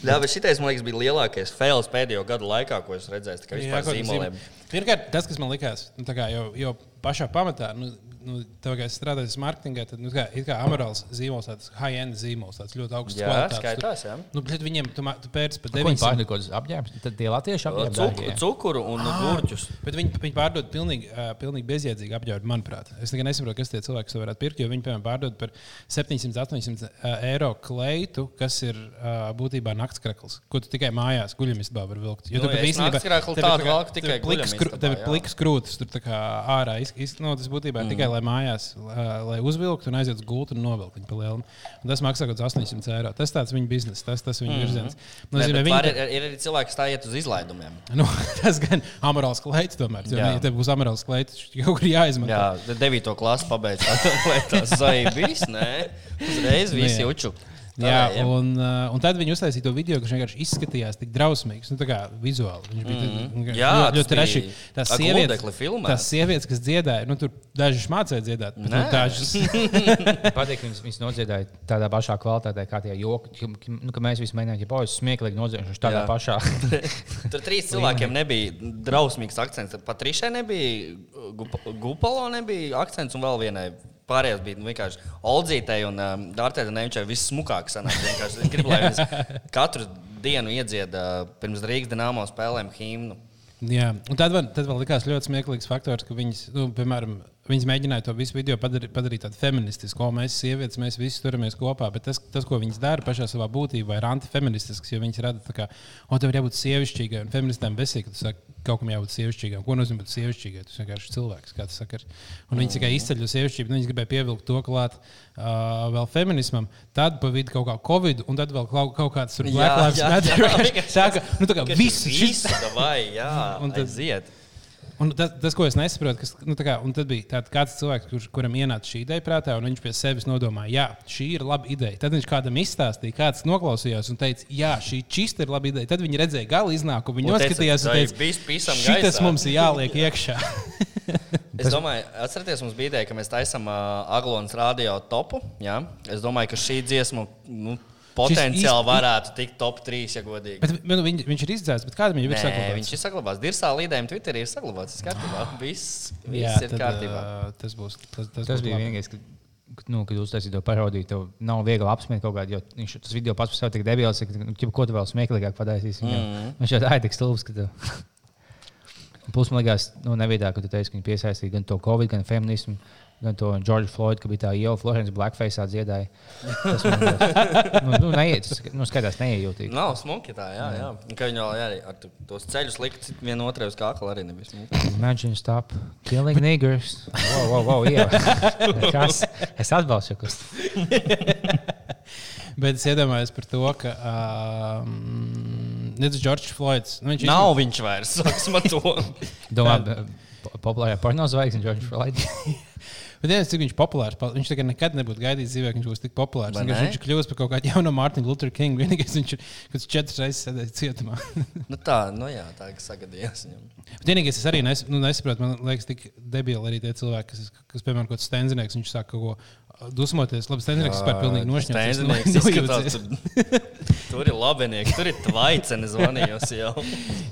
Jā, bet šitais, man liekas, bija lielākais fails pēdējo gadu laikā, ko es redzēju. Tā kā Jā, vispār kaut kas zīmoliem. zīmē. Pirmkārt, tas, kas man likās, nu, tā kā jau, jau pašā pamatā, nu, nu, tā kā es strādāju pie mārketinga, tad nu, tā kā, it kā amorāls zīmols, tāds high-end zīmols, tāds ļoti augsts. Jā, kvalitātes. skaitās, jā. Nu, bet viņiem tu, ma- tu pērci par Ko viņi 900. pārdod kaut kādas apģērbus? Tad tie latvieši Uh, apģērbi. cuk- dārgie. Cukuru un Ah, gurķus. Bet viņi, viņi pārdod pilnīgi, uh, pilnīgi bezjēdzīgu apģērbu, manuprāt. Es tikai nesaprotu, kas tie cilvēki to varētu pirkt. Jo viņi, piemēram, pārdod par 700-800 uh, eiro kleitu, kas ir uh, būtībā naktskrakls, ko tu tikai mājās guļamistabā vari vilkt. Nu, es naktskrēklu tādu valku tikai guļamistabā, Tev ir jā. Mm. pliks krūtis, tur tā kā ārā. iz- iz- Nu, tas būtībā ir tikai, lai mājās, uh, lai uzvilktu un aizietu uz gultu un novilktu viņu pa lielu. Un tas maksā kaut kāds 800 eiro. Tas tāds viņu bizness, tas, tas viņu virziens. Mm. Nē, Nozīmē, bet viņi- var- Ir ir arī cilvēki, kas tā iet uz izlaidumiem. Nu, tas gan amorāls klajts, tomēr. Jo, Jā. ja tev būs amorāls klajts, tad kaut kur jāizmanto. Jā, 9. klases pabeigts. Tā zaibīs, nē, uzreiz visi Nē. juču. Nu Jā, un, uh, un tad viņi uztaisīja to video, kas vienkārši izskatījās tik drausmīgs. Nu, tā kā vizuāli viņš bija mm. Jā, tas ļoti bija rešīgi. Tās ar sievietes, guldekli filmēts. tās sievietes, kas dziedāja, nu, tur dažas mācīja dziedāt, bet nu, Nē. dažas Patīk, ka viņas, viņas nodziedāja tādā pašā kvalitātē, kā tie joki. ka- ka- Nu, ka mēs visi mēģinājām, ja paujas smieklīgi nodziedājuši tādā Jā. Jā. pašā. Tur trīs cilvēkiem nebija drausmīgs akcents. Patrišai nebija, Gup- Gupalo nebija akcents un vēl vienai. Pārējās bija nu, vienkārši Oldzītei un um, Dārtaļai. Viņai viss smukāk sanāca. Vienkārši Es gribu, lai viņas katru dienu iedzied uh, pirms Rīgas dīnāmo spēlēm himnu. Jā, un tad man, tad man likās ļoti smieklīgs faktors, ka viņas, nu, piemēram, Viņas mēģināja to visu video padarīt, padarīt tādu feministisku, ko mēs, sievietes, mēs visi turamies kopā. Bet tas, tas ko viņas dara pašā savā būtībā, ir antifeministisks. Jo viņas rada, ka, o, tev ir jābūt sievišķīgai, un feministēm besīk, ka tu saki, kaut kam jābūt sievišķīgam. Ko nozīmē būt sievišķīgai? Tas vienkārši ir cilvēks, kā tas sakar. Un viņas tikai izceļ uz sievišķību, un viņas gribēja pievilkt to klāt uh, vēl feminismam, tad pa vidu kaut kā covid, un tad vēl kaut, kaut kāds tur Jā, black lives jā, jā. matter. vienkārši Tā kā, nu, tā kā viss šis. viss vai, jā, Un un tad- tad ziet. Un tas, tas, ko es nesaprotu, kas nu, tā kā, un tad bija tāds kāds cilvēks, kurš, kuram ienāca šī ideja prātā, un viņš pie sevis nodomāja, jā, šī ir laba ideja. Tad viņš kādam izstāstīja, kāds noklausījās un teica, jā, šī čista ir laba ideja. Tad viņi redzēja gala iznākumu, viņi Un teica, noskatījās "Tā ir un bijis teica, pisam šis gaisā." mums ir jāliek iekšā. Es domāju, atcerieties, mums bija ideja, ka mēs taisām uh, Aglons radio topu. Jā? Es domāju, ka šī dziesma nu, potenciāli īsti- varētu tikt top 3, ja godīgi. bet, nu, viņš, viņš ir izdzēsis, bet kādam jau ir Nē, sakot, viņš ir saglabājis. Dirsā līdējiem Twitterī ir saglabāts. Tas kārtībā. Viss, viss jā, ir kārtībā. Uh, tas būs tas, tas, Tas būs bija labi. vienīgais, kad, nu, kad uztaisīju to parodiju. Tev nav viegli apspriest kaut kādu, jo viņš tas video pats par sevi tik debils, ka nu, ķip, ko tu vēl smieklīgāk padaisīsi. Mm. Viņš jau tā ir tik stulbs, ka tu. Un Plus, man liekas, nu, nevienā, ka tu teici, ka viņi piesaistīja gan to Covid, gan feminismu, gan to George Floyd, ka bija tā jau Florence Blackface dziedāja. Tas man liekas, nu, nu, neiet, tas, nu, skaitās neiejūtīgi. Nav smuki tā, jā. jā. Un Ka viņi vēl arī ar tu- tos ceļus likt vienotrai uz kākla arī nebija smuki. Imagine stop killing niggers. Wow, wow, wow, jā. Kas? Es atbalstu, kas. Bet es iedomājos par to, ka um, Nīderlands George Floyds. Nu, viņš Nav viņš vairs, sāksim ar to. Domā, po- populārā pornozvaigzne George Floyd. Bet es domāju, cik viņš ir populārs. pal- Viņš tagad nekad nebūtu gaidījis dzīvē, ka viņš būs tik populārs. Vai Vienkārši ne? Viņš kļūst par kaut kādu jaunu Mārtiņu Lutheru Kingu. Vienīgais viņš ir, kas četras reizes sēdēja cietumā. nu tā, nu jā, tā kā sagadījās viņam. Bet vienīgais, kas arī nes, nu, nesaprot, man liekas, tik debili arī tie cilvēki, kas, kas piemēram, kaut kāds stenzinieks, viņš sāk kaut ko uh, dusmoties. Labi, stenzinieks vispār pilnīgi nošķirs. Stenzinieks izskatās, tur, tur ir labinieki, tur ir tvaiceni zvanījos jau.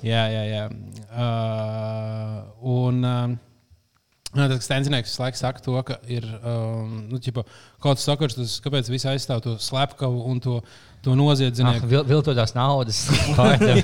Jā, jā, jā. Uh, un uh, tas stendinieks visu laiku saka to, ka ir um, nu, ķipa, kaut kas sakars, tas, kāpēc visi aizstāv to slepkavu un to, to Ah, noziedzinieku. vil, viltotās naudas. Poetam.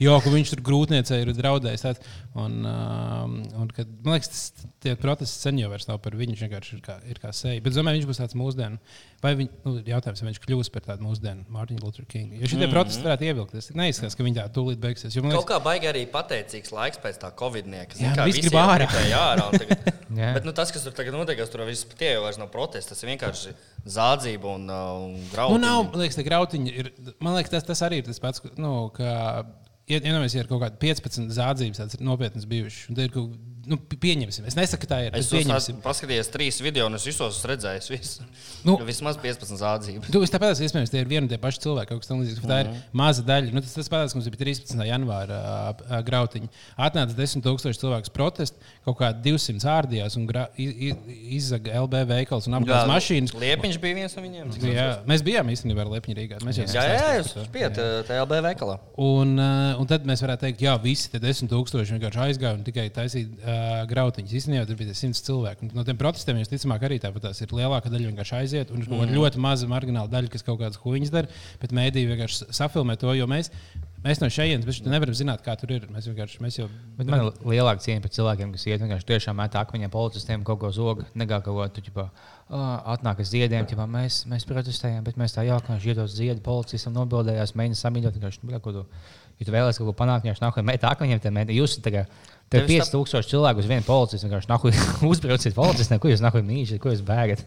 Jo, ka viņš tur grūtniecē ir draudējis. Tāds, un, um, un, kad, man liekas, tas, tie protesti sen jau vairs nav par viņu. Viņš vienkārši ir kā, ir kā seja. Bet, domāju, viņš būs tāds mūsdienu. Vai viņš, nu, jautājums, vai viņš kļūs par tādu mūsdienu Mārtiņu Lutheru Kingu? Jo šie mm -hmm. protesti varētu ievilkties. Neizskatās, ka viņi tā tūlīt beigsies. Jo, man Mm-hmm. Kaut liekas, kā baigi arī pateicīgs laiks pēc tā Covid-nieka. Nu, Jā, Zini, kā viss visi grib jau ārā. gribēja ārā un tagad- Jā. Bet nu, tas, kas tur tagad notiek, tas tur viss tie jau vairs nav protests. Tas ir vienkārši zādzība un, uh, un Nu, grauds. nav, man liekas, tā grautiņa ir. Man liekas, tas, tas arī ir tas pats, ka, nu, ka iedomājieties, ja ir kaut kāda 15 zādzības, tādas ir nopietnas bijušas. Un te ir kaut Nu, pi- pieņemsim, es nesaku, ka tā ir. Es Es pieņemsim, esmu paskatījies trīs video, un es visos esmu redzējis, visu. Nu. Nu, vismaz 15 zādzību. Tu, es tāpēc iespējams, tie ir vieni un tie paši cilvēki, kaut kas tamlīdzīgs. bet Tā Mhm. ir maza daļa. Nu, tas tas pats, kas mums bija 13. janvāra ā, ā, grautiņa. Atnāca 10,000 cilvēku protestu, kaut kā 200 ārdījās un gra- i- i- izzaga LB veikals un apgāzās mašīnas. Liepiņš bija viens no viņiem. cik es Jā, mēs bijām īstenībā ar Lepņu Rīgā. Mēs jau atceros. Jā, jā, stāstījām par to. jūs bijat uh, TLB veikalā. Un, uh, un tad mēs varētu teikt, ka visi tie desmit tūkstoši vienkārši aizgāja un tikai taisīja uh, grautiņus. Īstenībā tur bija tie simts cilvēku. Un no tiem protestiem jau ticamāk arī tāpat tās ir lielāka daļa vienkārši aiziet. Un ir kaut kāda ļoti maza margināla daļa, kas kaut kādas huīņas dara, bet mēdīji vienkārši safilmē to, jo mēs, mēs no šejienes bet šeit nevaram zināt, kā tur ir. Mēs vienkārši mēs jau. Bet Man ir lielāka cieņa par cilvēkiem, kas iet vienkārši tiešām met akmeņiem policistiem kaut ko zog, nekā kaut ko tādu, kā atnāk ar ziediem. Ķipā, mēs, mēs protestējām, bet mēs tā jauki ziedot ziedu policistam, nobildējās, mēģinājām samīļot. vienkārši, nu, bļa, ko tu- Ja tu vēlaties kaut ko panākt, viņš nāk un met akmeņiem, tad met. Jūs esat tā kā te Tevis tā- 5000 cilvēku uz vienu policistu, vienkārši nāk uzbrauciet policistam, ko jūs nāk un mīļšat, ko jūs bēgat.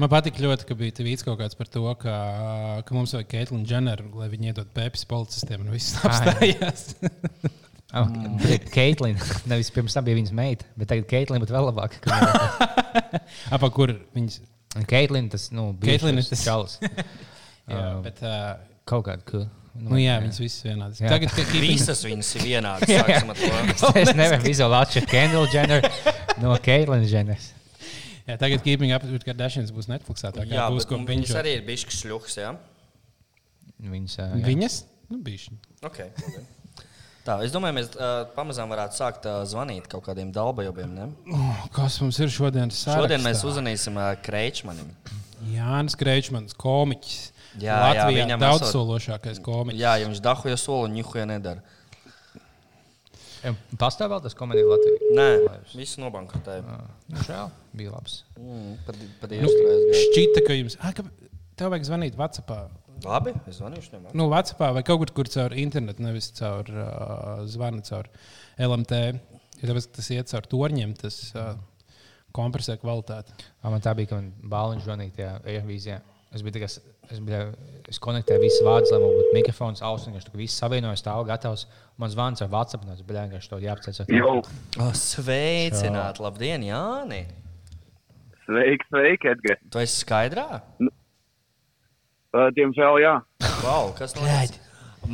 Man patīk ļoti, ka bija tvīts kaut kāds par to, ka, ka mums vajag Keitlinu Dženeru, lai viņi iedod pepsi policistiem un viss apstājās. Mm. Keitlina, Ah, nevis pirms tam bija viņas meita, bet tagad Keitlina būtu vēl labāk. Apa kur viņas. Keitlina tas, nu, bija Caitlyn ir tas- čalis. Jā, Ā, bet, uh, Kaut kāda cool. Nu, jā, viņas visas vienādas. Jā. Tagad, kad Kristofers Visas viņas ir vienādas. sāksim ar to. Es nevaru izolēt šo Kendall Jenner no Keitlinas Jenners. tagad Keeping Up with Kardashians būs Netflix. Tā kā Jā, jā, būs bet nu, ko viņas viņš arī. arī ir bišķi šļuks. Jā? Viņas, ā, jā. Viņas? Nu, bišķi. Okay. labi. Tā, es domāju, mēs uh, pamazām varētu sākt uh, zvanīt kaut kādiem dalbajiem. oh, kas mums ir šodien? Šodien mēs uzzvanīsim uh, Kreičmanim. Jānis Kreičmans, komiķis. Jā, Jā, jā, Latvijā jā, viņam daudzsološākais komiķis. Jā, ja viņš dahuja soli un nihuja nedara. Pastāv vēl tas komēdija Latvijā. Nē, viss nobankrotēja. Šādi bija labs. Mm, Pat pat Nu, iestrēgājis. šķita, ka jums. Ai, ka tev vajag zvanīt Vācijā. Labi, es zvanīšu viņam. Nu, Vācijā vai kaut kur, kur caur internetu, nevis caur uh, zvanu, caur LMT. Jo tāpēc, ka tas iet caur torņiem, tas uh, kompresē kvalitāti. Ā, Man tā bija, ka man bāliņš zvanīja tajā aerobīzijā. Es biju tāds, es biju, es konektēju visus vārdus, lai man būtu mikrofons, austiņš, tur viss savienojās, stāv gatavs. Man zvans ar WhatsApp, no kuras vienkārši to jāapceļ. O, Sveicināt, labdien, Jāni! Sveiki, sveiki, Edgars. Tu esi skaidrā? Uh, Diemžēl, jā. Wow, kas notic?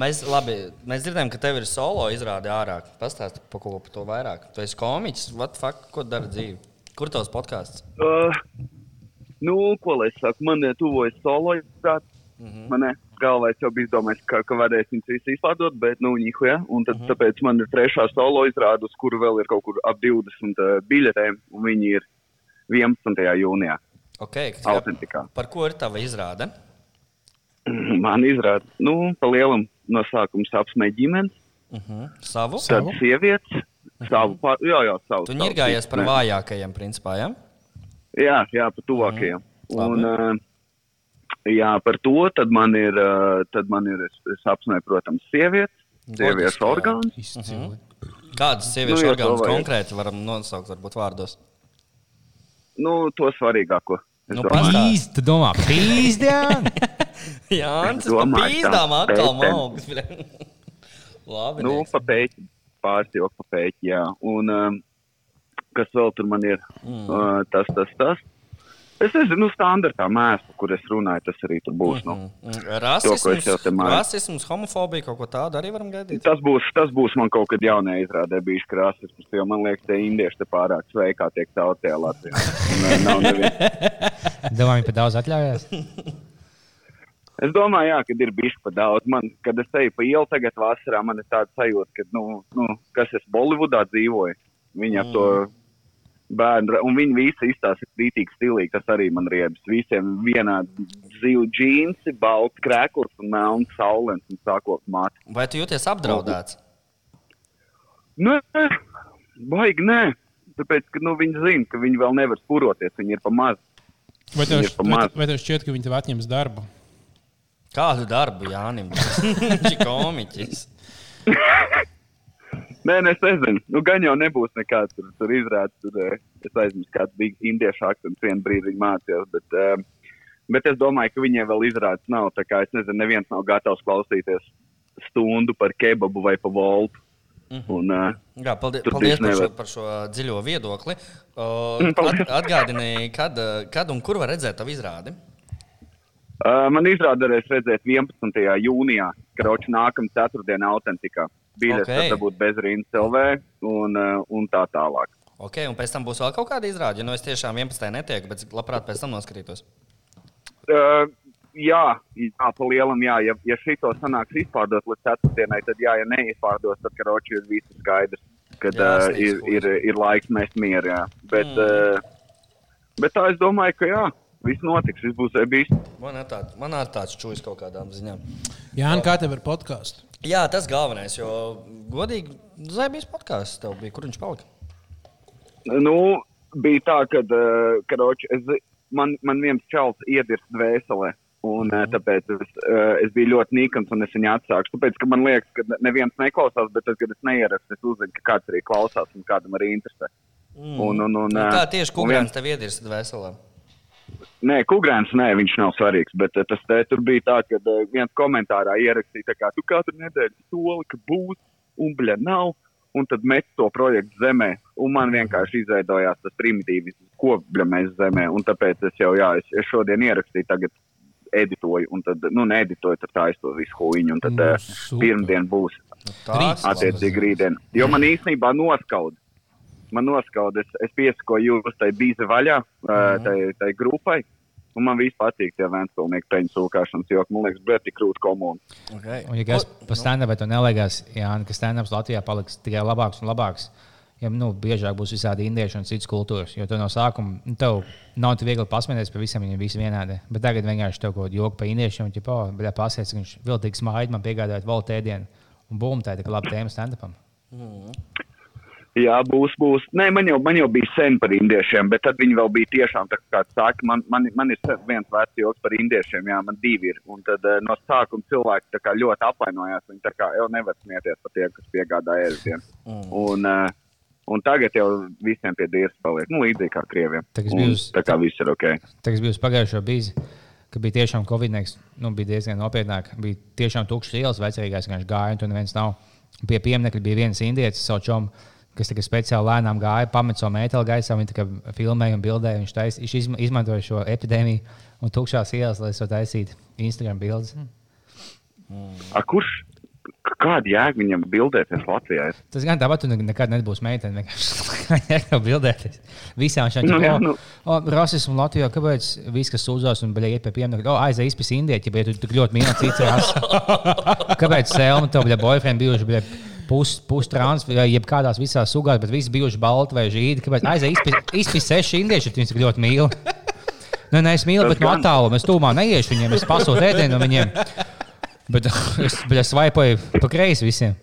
Mēs, labi, mēs dzirdējām, ka tev ir solo izrāde ārā. Pastāsti par ko par to vairāk. Tu esi komiķis, what fuck, ko dari dzīvi? Kur tavs podkāsts? Uh, nu, ko lai es saku, man eh, tuvojas solo izrāde. Mm Mhm. -hmm. Man galvā es jau biju izdomājis, ka, ka varēs viņus visus izpārdot, bet nu, nihuja. Un Mhm. tad, mm -hmm. tāpēc man ir trešā solo izrāde, uz kuru vēl ir kaut kur ap 20 uh, biļetēm, un viņi ir 11. jūnijā. Okay, ka- Autentikā. par ko ir tava izrāde? Man izrāda, nu, pa lielam no sākuma apsmēķi ģimenes, Uh -huh. Savu? Mhm. tad sievietes, savu pār, jā, jā, savu. Tu savu ņirgājies par ģimeni. vājākajiem, principā. Ja? Jā, jā par tuvākajiem. Mm. Labi. Un, ā, jā, par to tad man ir, ā, tad man ir es, es apsmēju, protams, sievietes, sievietes Logiski, jā. orgānus. Izcili. Kādas sieviešu Nu, nu, jā, orgānus to vajag. konkrēti varam nosaukt, varbūt vārdos? Nu, to svarīgāko. Es Nu, domāju. pastāsti. Īsti, tu domā, pīzdien! Jā, tas ir Domāju, pīzdām tā, atkal pētēm. mākslas. Labi. nu, Niks. papēķi, pāris jau papēķi, jā. Un ā, kas vēl tur man ir? Mm. Tas, tas, tas. Es nezinu, nu, standartā mēslu, kur es runāju, tas arī tur būs. Mm -hmm. nu. Mm, ko es jau Rasisms, te māju. rasisms, homofobija, kaut ko tādu arī varam gaidīt. Tas būs, tas būs man kaut kad jaunā izrādē, bijis krāsas. Jo man liekas, tie indieši te pārāk sveikā tiek tautē Latvijā. Nē, nav neviena. Domāju, par daudz atļaujās. es domāju, jā, kad ir bijis par daudz. Man, kad es eju pa ielu tagad vasarā, man ir tāds sajūta, ka, nu, nu kas es Bolivudā dzīvoju, viņi ap to bērnu, ra- un viņi visi izstāsta krītīgi stilīgi, tas arī man riebas. Visiem vienādi zivu džīnsi, balti krēkurs un melns saulens un sākot māti. Vai tu jūties apdraudēts? Nē, baigi nē. Tāpēc, ka nu, viņi zina, ka viņi vēl nevar spuroties. Viņi ir pamazs. Vai tev, Ir šķ- pa vai, maz. vai tev šķiet, ka viņi tev atņems darbu? Kādu darbu Jānis? Viņš ir komiķis. Nē, nē, es nezinu. Nu, gan jau nebūs nekāds tur, tur izrādes. Tur, eh, es aizmirsu, kāds bija indiešu akcents vienā brīdī viņa mācījās. Bet, eh, bet es domāju, ka viņiem vēl izrādes nav. Tā kā es nezinu, neviens nav gatavs klausīties stundu par kebabu vai par voltu. Un, eh, Jā, paldies, Tur paldies viņš par, šo, nevar. Mm, par šo dziļo viedokli. Uh, at, atgādini, kad, uh, kad un kur var redzēt tavu izrādi? eh, man izrādē varēs redzēt 11. jūnijā, Kroča nākamā ceturtdienā, autentikā. Biļetes Ok. okay. var dabūt bez rīna CLV un, eh, un tā tālāk. Okay, un pēc tam būs vēl kaut kāda izrāde. Jo, Nu, es tiešām 11. netieku, bet labprāt pēc tam noskrītos. Uh, jā, jā pa lielam, jā. Ja, ja šī to sanāks izpārdot līdz ceturtdienai, tad jā, ja neizpārdos, tad karoči ir viss skaidrs, kad Jā, uh, sniegs ir, ir, ir laiks mest mieru. Jā. Bet, mm. uh, bet tā es domāju, ka jā, viss notiks, viss būs bijis. Man ir tāds, man ir tāds čūlis kaut kādām ziņām. Jā, nē, kā tev ir podkāsts? Jā, tas galvenais, jo godīgi, Zvaigznes podkāsts tev bija, kur viņš palika. Nu, bija tā, ka uh, karoči, es, zi- man, man viens čels iedirst dvēselē. Un, mm. Mhm. Tāpēc es, eh, es biju ļoti nīkans, un es viņu atsāku. Tāpēc ka man liekas, ka ne- neviens neklausās, bet tad, kad es neierakstu, es uzzinu, ka kāds arī klausās un kādam arī interesē. Mm. Un, un, un, Nu, eh, Tā tieši un viens- kungrāns tev iedirst veselā. Nē, Kungrāns, nē, viņš nav svarīgs. Bet eh, tas te tur bija tā, ka eh, viens komentārā ierakstīja, tā kā tu katru nedēļu soli, ka būs un bļa nav. Un tad met to projektu zemē. Un man vienkārši izveidojās tas primitīvs, ko bļa mēs zemē. Un tāpēc es jau, jā, es, es šodien ierakstīju, tagad editoju. Un tad, nu, needitoju, tad tā es to visu huīņu. Un tad Nu, eh, super. pirmdien būs attiecīgi rītdien. Jo man īstenībā noskaud. Man noskaud, es, es piesakoju jūs tai bīza vaļā, mm. tai, tai grupai. Un man vispār patīk tie vēnsturnieki peļņu sūkāšanas, jo man liekas, bet ir krūti komunā. Okay. Un, ja kas par stand-upu to neliekās, Jānis, nu, ka stand-ups Latvijā paliks tikai labāks un labāks. Ja, nu, biežāk būs visādi indieši un citas kultūras, jo tev no sākuma nu, tev nav tik viegli pasmieties par visiem, viņi ir visi vienādi. Bet tagad vienkārši tev kaut kāda joku par indiešiem, un viņš pasakās, ka viņš viltīgs mājiņa man piegādāja valūtu ēdienu, un bum, tā ir tik laba tēma stand-upam. Jā, būs, būs. Nē, man jau, man jau bija sen par indiešiem, bet tad viņi vēl bija tiešām tā kā saka, man, man, man ir sen viens vecs joks par indiešiem, jā, man divi ir. Un tad eh, no sākuma cilvēki tā kā ļoti apvainojās, viņi tā kā jau nevar smieties par tiem, kas piegādā ēdienu. Un, eh, un tagad jau visiem pie dievs paliek, nu, līdzīgi kā krieviem. Tā kas Un bija uz- tā kā viss ir ok. Tagad bija uz pagājušo bīzi, ka bija tiešām Covid-19, nu, bija diezgan nopietnāk. Bija tiešām tukšas ielas, vecākais vienkārši gāja, un tur neviens nav. Pie pieminiekta bija viens indietis, saučom, kas tikai speciāli lēnām gāja, pamet savu metālu gaisā, viņš tikai filmēja un bildēja. Viņš, tais, viņš izma- izmantoja šo epidēmiju un tukšās ielas, lai to taisītu Instagram bildes. A, kurš, k- kāda jēga viņam bildēties Latvijā? Es Tas gan tāpat, tu ne- nekad nebūs meitene. Vienkārši tā bildēties. Visām šīm Nu, jā, lietām, nu. kā rasismu Latvijā, kāpēc viss, kas sūdzās un bija iet pie pieminiekta, oh, aizēj izpētīt indieķi, bet tu tik ļoti mīli citas rases. Kāpēc Selma tev bija boyfriend bijuši? Bija Pustrāns, pus jebkādās visās sugās, bet visi bijuši balti vai žīdi. Kāpēc aizēj izpētīt seši indieši, ja tu viņus tik ļoti mīli? Nu, nē, es mīlu, Tas bet no gan. attāluma es tūmā neiešu viņiem, es pasūtu ēdienu viņiem. Bet es, bet es vaipoju pa kreisi visiem.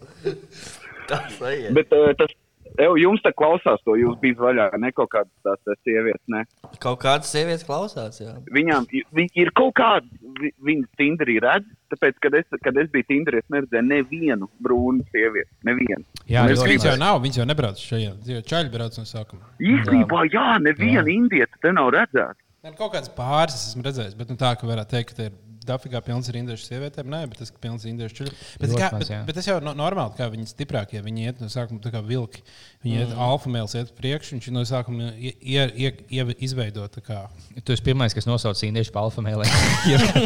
Tas ir. Bet eh, tas, ev, jums tā klausās to, jūs bijat vaļā, ne kaut kādas tās eh, sievietes, ne? Kaut kādas sievietes klausās. Jā. viņām i- vi- ir kaut kāda, vi- viņas Tinderī redz, tāpēc, kad es, kad es biju Tinderī, es neredzēju nevienu brūnu sievieti. Nevienu. Jā, Un es ļoti. gribu- Viņas jau nav, viņas jau nebrauc šajā. Tie jau Čaļi brauc no sākuma. Īstenībā, jā, neviena indieta te nav redzēta. Ir kaut kāds pāris, es esmu redzējis, bet nu, tā, ka varētu teikt, ka te ir dafigā pilns ar indiešu sievietēm. Nē, bet tas ir pilns ar indiešu čuļiem. Bet, Ļoti kā, maz, bet, jā. bet tas jau no, normāli, kā viņi stiprākie, viņi iet no sākuma tā kā vilki. Viņi iet, mm. alfa mēls iet priekšā, viņš no sākuma ie, ie, ie, ie, izveido tā kā. Tu esi pirmais, kas nosauca īņķu par alfa mēlē.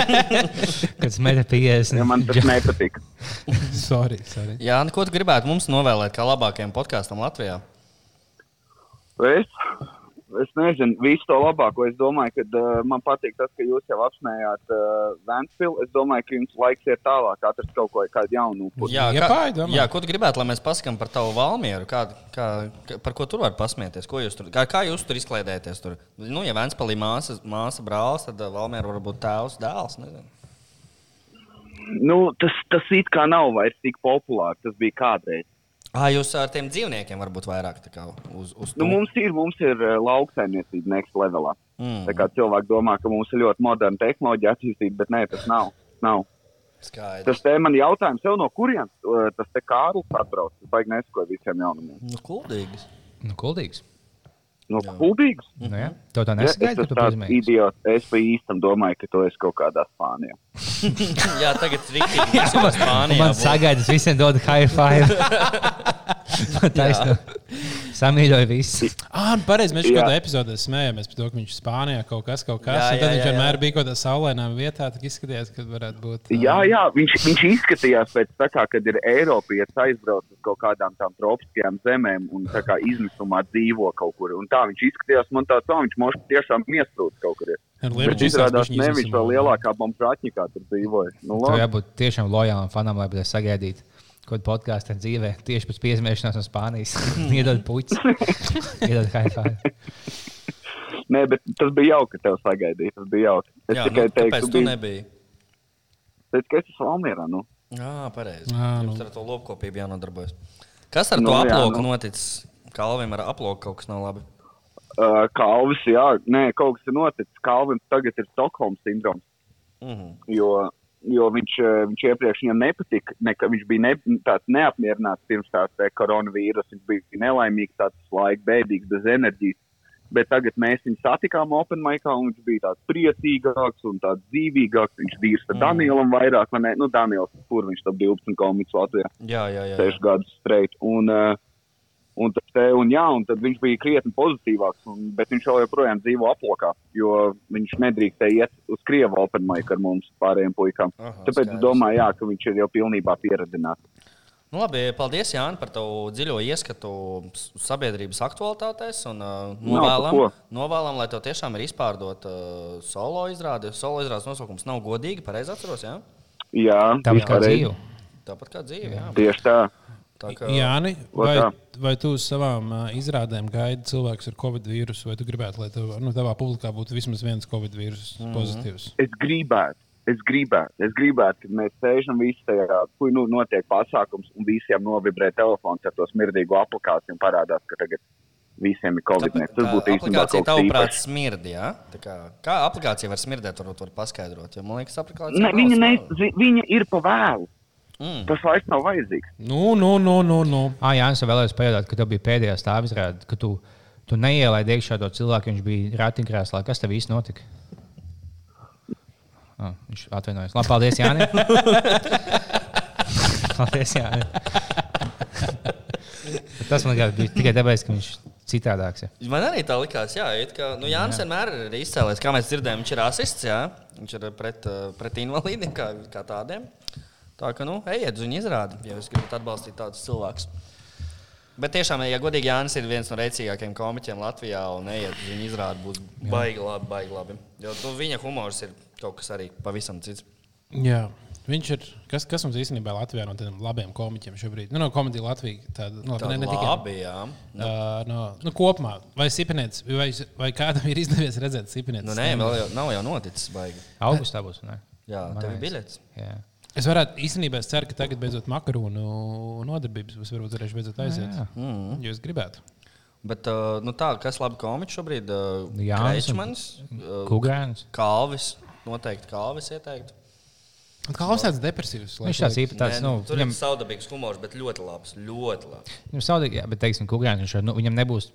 Kad smēķis 50. Ja man tas nepatīk. sorry, sorry. Jā, nu, ko tu gribētu mums novēlēt kā labākajam podkāstam Latvijā? Es, es nezinu, visu to labāko. Es domāju, ka uh, man patīk tas, ka jūs jau apsmējāt uh, Vanspilu. Es domāju, ka jums laiks iet tālāk, atrast kaut ko tādu jaunu. upuri. Jā, Iepāji, domā? jā, ko tu gribētu, lai mēs pasakām par tavu valmieru? Kā, kā, kā- par ko tur var pasmieties? Ko jūs tur, kā, kā jūs tur izklaidēties? Tur? Nu, ja Vēnspēlī māsa, māsa brālis, tad valmieru var būt tēvs, dēls. Nezinu. Nu, tas, tas it kā nav vairs tik populārs. Tas bija kādreiz. Ah, jūs ar tiem dzīvniekiem varbūt vairāk tā kā uz, uz Nu, mums ir, mums ir eh, lauksaimniecība next levelā. Mm. Tā kā cilvēki domā, ka mums ir ļoti moderna tehnoloģija attīstība, bet nē, tas nav. nav. Skaidrs. Tas te man jautājums, tev no kurienes eh, tas te Kārlis atbrauc? Es baigi nesakoju visiem jaunumiem. Nu, kuldīgs. Nu, kuldīgs. No Kubīgas? Nu, jā. Tev tā Mhm. Ja, Es nesagaidīja, esmu ka tu tāds pazemēji. idiots. Es pa īstam domāju, ka tu esi kaut kādā Spānijā. jā, tagad rīktīgi. Jā, man Spānijā. Man būs. sagaidīja, visiem dod high five. Taisnība. Samīļoja visu. Ah, nu, pareizi, mēs jau Jā. kādā epizodē smējāmies par to, ka viņš Spānijā kaut kas, kaut kas, Jā, jā, un jā, tad jā, viņš jā, vienmēr jā. bija kaut kādā saulēnā vietā, tad izskatījās, ka varētu būt. Jā, jā, viņš, viņš izskatījās pēc tā, kā, kad ir Eiropietis aizbraucis uz kaut kādām tām tropiskajām zemēm un tā kā izmisumā dzīvo kaut kur. Un tā viņš izskatījās, man tā tā, viņš moši tiešām iestrūda kaut kur. Ar Bet lielāku izrādās, ne viņš vēl lielākā bombrāķikā tur dzīvoja. Nu, Tev labi. jābūt tiešām lojālam fanam, lai būtu sagaidīt. Kaut podkāstā dzīvē tieši pēc piesmiešanās no Spānijas. Iedod puķi. Iedod high five. Nē, bet tas bija jauki, ka tev sagaidīja. Tas bija jauki. Es Jā, tikai nu, teiktu, kāpēc tu bija- nebija? tāpēc, ka es esmu Almērā. Nu. Jā, pareizi. Jā, nu. Jums ar to lopkopību jānodarbojas. Kas ar Nu, to jā, aploku nu. noticis? Kalvim ar aploku kaut kas nav labi. Uh, Kalvis, jā, nē, kaut kas ir noticis. Kalvim tagad ir Stokholmas sindroms. Mhm. jo, jo viņš, eh, viņš iepriekš viņam nepatika. Ne, ka viņš bija ne, tāds neapmierināts pirms tās eh, koronavīrusa. Viņš bija nelaimīgs, tāds laika bēdīgs, bez enerģijas. Bet tagad mēs viņu satikām Open Maikā, un viņš bija tāds priecīgāks un tāds dzīvīgāks. Viņš bija ar Danielam vairāk, vai ne? Nu, Daniels, kur viņš tam 12 komiks Latvijā Jā, jā, jā. jā. sešu gadus streit. Un, eh, un, tas te, un, jā, un tad viņš bija krietni pozitīvāks, un, bet viņš vēl joprojām dzīvo aplokā, jo viņš nedrīkstēja iet uz Krievu open mic ar mums pārējiem puikām. Aha, Tāpēc skaidrs. es domāju, jā, ka viņš ir jau pilnībā pieredzināts. Nu, labi, paldies, Jānis, par tavu dziļo ieskatu s- sabiedrības aktualitātēs. Un, uh, par novēlam, ko. novēlam, lai tev tiešām ir izpārdota uh, solo izrāde. Solo izrādes nosaukums nav godīgi, pareizi atceros. Jā? Jā, Tāpat kā pareizi. dzīvu. Tāpat kā dzīve. Jā. Tieši tā. Tā kā, jā. Jāni, Ko vai, tā? vai tu uz savām ā, izrādēm gaidi cilvēkus ar covid Mhm. vīrusu, vai tu gribētu, lai tev, nu, tavā publikā būtu vismaz viens covid vīrusu pozitīvs? Es gribētu. Es gribētu, es gribētu, ka mēs sēžam visi tajā, kur nu, notiek pasākums, un visiem novibrē telefons ar to smirdīgo aplikāciju un parādās, ka tagad visiem ir Covid-19. Tas būtu īstenībā aplikācija kaut kas tev prāt īpašs. smird, jā? Tā Kā, kā aplikācija var smirdēt, varbūt var paskaidrot, jo man liekas, aplikācija... Ne, nav viņa, ne, smirda. zi- viņa ir pa vēlu. Mm. Tas laiks nav vajadzīgs. Nu, nu, nu, nu, nu. Ah, Jā, es vēlējos pajautāt, ka tev bija pēdējā stāvis, ka tu, tu neielaidi iekšā to cilvēku, viņš bija ratiņkrēslā. Kas tev īsti notika? Ah, viņš atvainojas. Labi, paldies, Jānis. paldies, Jānis. Tas man liekas, bija tikai tāpēc, ka viņš citādāks ir. Man arī tā likās, jā, it kā nu, Jānis vienmēr ir izcēlējis, kā mēs dzirdējām, viņš ir rasists, jā, viņš ir pret, eh, pret invalīdiem kā, kā tādiem. Tā kā, nu, ejiet uz viņu izrādi, ja jūs gribat atbalstīt tādus cilvēkus. Bet tiešām, ja godīgi, Jānis ir viens no rēcīgākajiem komiķiem Latvijā, un ejiet uz viņu izrādi, būs baigi labi, baigi labi. Jo nu, viņa humors ir kaut kas arī pavisam cits. Jā. Viņš ir. Kas, kas mums īstenībā Latvijā no tādiem labiem komiķiem šobrīd? Nu, no komēdijas Latvijas. Tāda, nu, labi, Tā ne, ne tikai. labi, jā. Nu. Uh, no, nu, kopumā, vai, Sipenēts- vai, vai kādam ir izdevies redzēt sipenētas? Nu, nē, vēl jau nav jau noticis, baigi. Augustā būs. vai Ne? Jā, Man tev ir liekas. biļets. Jā. Es varētu īstenībā es ceru, ka tagad beidzot makaronu nodarbības būs varbūt arī beidzot aiziet. Jā. Mm. Jūs gribētu? Bet, uh, nu tā, kas labi komiķi šobrīd? Uh, Jānis un- Kreičmans, uh, Kukrājums. Kalvis. Noteikti Kalvis ieteiktu. Mm. Kā jau tāds depresīvs? Viņš tāds īpašs, tāds, Nē, nu, tur viņam... viņam ir saudabīgs humors, bet ļoti labs. Ļoti labs. Viņam Nu, saudīgi, jā, bet, teiksim, kukurēns, viņš, jau- nu, viņam nebūs,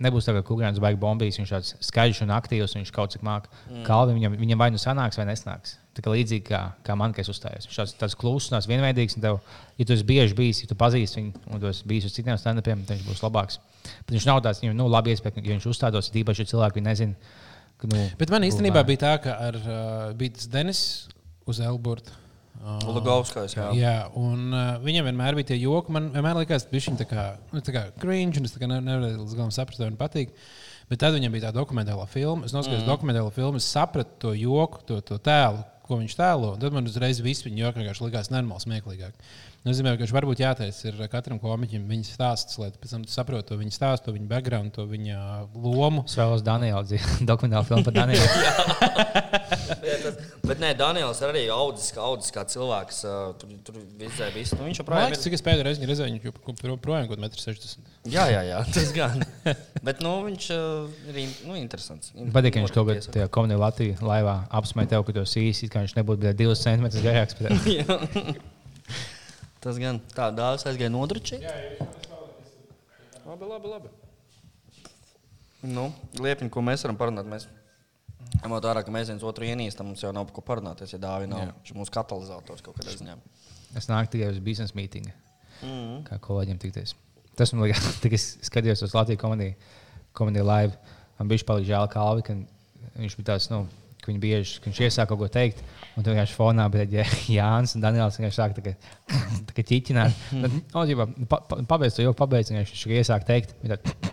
nebūs tā, ka kukurēns baigs bombīs. Viņš tāds skaļš un aktīvs, un viņš kaut cik māk. Mm. Kalvi viņam, viņam vai nu sanāks, vai nesnāks. Tā kā līdzīgi kā, kā man, kas uzstājās. Viņš tāds, tāds klusnās, vienveidīgs, un tev, ja tu esi bieži bijis, ja tu pazīsti viņu, un tu esi bijis uz citiem standupiem, tad viņš būs labāks. Bet viņš nav tāds, viņam, nu, labi iespēja, ka ja viņš uzstādos, ir īpaši, ja cilvēki viņu nezina. ka, Nu, Bet man īstenībā bija tā, ka ar uh, Bītas Denis uz Elburta. Uh, Ah, Lugovskais. Jā. Jā, un uh, viņam vienmēr bija tie joki. Man vienmēr likās, ka viņš ir tāds cringe, un es tā kā ne- nevarēju līdz galam saprast, vai viņam patīk. Bet tad viņam bija tā dokumentāla filma. Es noskatījos mm. dokumentālo filmu, es sapratu to joku, to, to tēlu, ko viņš tēlo. un Tad man uzreiz viss viņa joks vienkārši likās nenormāli smieklīgāk. Tas nozīmē, ka viņš varbūt jātaisa ir katram komiķim viņa stāsts, lai pēc tam tu saprotu to viņa stāstu, to viņa background, to viņa uh, lomu. Es vēlos Danielu dzīvi, dokumentālu filmu par Danielu. Jā, tas, bet nē, Daniels ir arī audzis, kā- audzis kā cilvēks. ā, Tur, tur viss bija. Nu, viņš Man joprojām liekas, ir. cik es pēdējo reizi viņu redzēju, viņš jau projām kaut kādā 60. Jā, jā, jā, tas gan. bet nu, viņš ā, ir in- nu, interesants. Man Patīk, ka viņš kaut kādā tajā komunijā Latvijā laivā apsmēķē tevi, ka tu esi īsi, it kā viņš nebūtu bijis divus centimetrus garāks. par tevi. Jā. Tas gan tā, dāvis aizgāja nodručīt. Labi, labi, labi. Nu, Liepiņa, ko mēs varam parunāt? Mēs ņemot vērā, ka mēs viens otru ienīstam, mums jau nav par ko parunāties, ja dāvis nav. Viņš ir mūsu katalizators kaut kādā ziņā. Es nāku tikai uz biznesa mītingu, mm. kā kolēģiem tikties. Tas man liekas, tik es skatījos uz Latvijas komēdiju, komēdiju live. Man bija palīdz žēl Kalvi, ka viņš bija tāds, nu, ka viņš bieži, ka viņš iesāk kaut ko teikt, un tu vienkārši fonā, bet ja Jānis un Daniels vienkārši sāk tā kā- tā kā ķiķināt. Tad, nu, ģipā, pa, pa, pabeidz to jau, pabeidz, un viņš tikai iesāk teikt, bet tad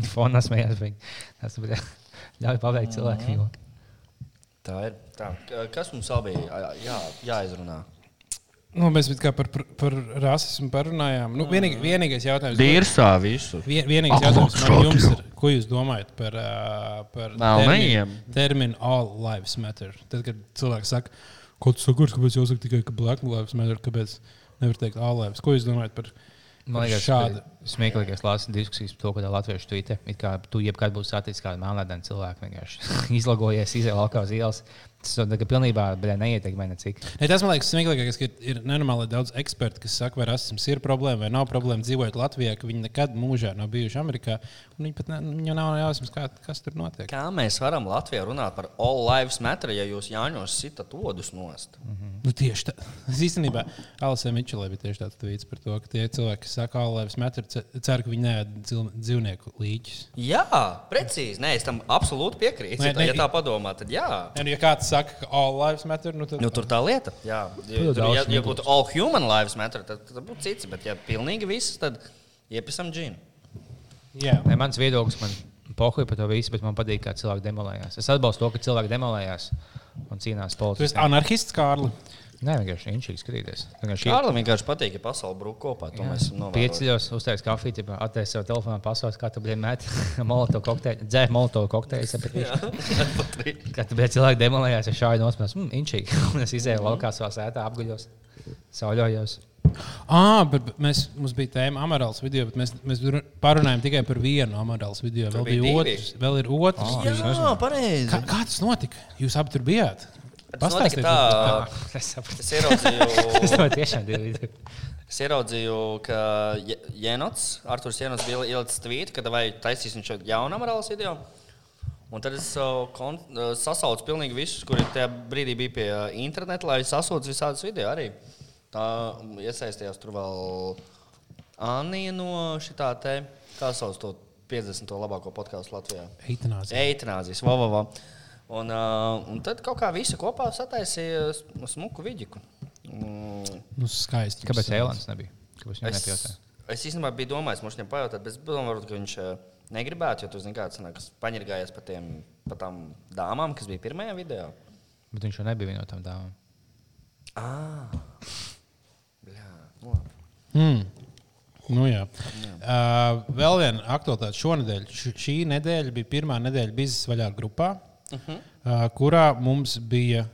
fonā smējās viņi. Tas bija ļauj pabeigt cilvēku joku. Tā ir. Tā. K- Kas mums abi bija jā, jāizrunā? Nu, mēs it kā par, par, par rasismu parunājām. Nu, vienīgi, vienīgais jautājums, Dīrsā visu. vien, vienīgais jautājums man jums ir, ko jūs domājat par, ā, par Melnajiem? terminu- terminu all lives matter? Tad, kad cilvēks saka, ko tu sakūri, kāpēc jāsaka tikai, ka black lives matter, kāpēc nevar teikt all lives? Ko jūs domājat par, par Man liekas, šādu? tas ir smieklīgākais lāsas diskusijas par to, ka Latviešu tvīte, it kā tu jebkad būsi saticis kādu melnādainu cilvēku, vienkārši izlagojies, izēja laukā uz ielas. Tas tā kā pilnībā bļā, neietekmē necik. Ne, tas man liekas smieklīgākais, ka ir- ir nenormāli daudz ekspertu, kas saka, vai rasisms ir problēma vai nav problēma dzīvojot Latvijā, ka viņi nekad mūžā nav bijuši Amerikā. un Viņi pat ne, viņiem nav jausmas, kā, kas tur notiek. Kā mēs varam Latvijā runāt par all lives matter, ja jūs Jāņos sitat odus nost? Nu, tieši tā. Es īstenībā Alisam Mičelē bija tieši tāds tvīts par to, ka tie cilvēki, kas saka, Alēvis metru, ce- cer, ka viņi neēd dzil- dzīvnieku līķus. Jā, precīzi. Nē, es tam absolūti piekrītu. Nē, Ja tā- nē, Ja tā padomā, tad jā. Un, nu, ja kāds saka, ka all lives matter, nu, tad Nu, tur tā lieta. Jā, ja, tur, jau daudz ja, ja smieklos. būtu all human lives matter, tad, tad būtu cits. Bet, ja pilnīgi viss, tad iepisam džinu. jā. Ne, mans viedoklis man pohuja par to visu, bet man patīk, kā cilvēki demolējās. Es atbalstu to, ka cilvēki demolējās un cīnās Tu esi politiski. anarchists, Kārli. Nē, vienkārši viņš ir skribies. Kārlim vienkārši patīk, ja pasaule brūk kopā. To mēs novērojam. Piecīļos, uztaisīja kafiju, atvērs savu telefonu, pasaules, kā tu biji met molotovu kokteili, dzēr molotovu kokteili. Kad tu biji cilvēki demolējās, es šādi nospēlēju, mmm, inčīgi. Un es izēju laukā savā sētā, apguļos, sauļojos. Ah, bet bet mēs, mums bija tēma amarāls video, bet mēs, mēs ru- parunājām tikai par vienu amarāls video. Vēl bija bija divi. otrs, vēl ir otrs. Jā, jā pareizi. Kā, kā tas notika? Jūs abi tur bijāt? Tas notika Pastāstiet tā. mums par Es sapratu. Es ieraudzīju, Tas man tiešām bija. Es ieraudzīju, ka Je- Jenots, Arthurs Jenots bija ielicis tvītu, ka vai taisīsim šo jaunu amorālu video. Un tad es uh, kon- uh, sasaucu pilnīgi visus, kuri tajā brīdī bija pie uh, interneta, lai sasaucu visādus video arī. Tā mm, iesaistījās tur vēl Anija no šitā te, kā sauc to 50. labāko podkāstu Latvijā. Eitanāzija. Eitanāzijas, va, va, va. Un, uh, un tad kaut kā visi kopā sataisīja s- smuku vidiku. Mm, Nu, skaisti. Kāpēc Eilants nebija? Kāpēc viņš Es, nepajautāja? es īstenībā biju domājis, man viņam pajautāt, bet es domāju, ka viņš eh, negribētu, jo tu zini, kāds ir paņirgājies pa, tiem- pa tām dāmām, kas bija pirmajā video. Bet viņš jau nebija viena no tām dāmām. Jā, Ah. nu labi. Mm. Nu, jā. Uh, vēl viena aktualitāte šonadēļ. Š šī nedēļa bija pirmā nedēļa biznesa vaļā grupā, uh Mhm. -huh. uh, kurā mums bija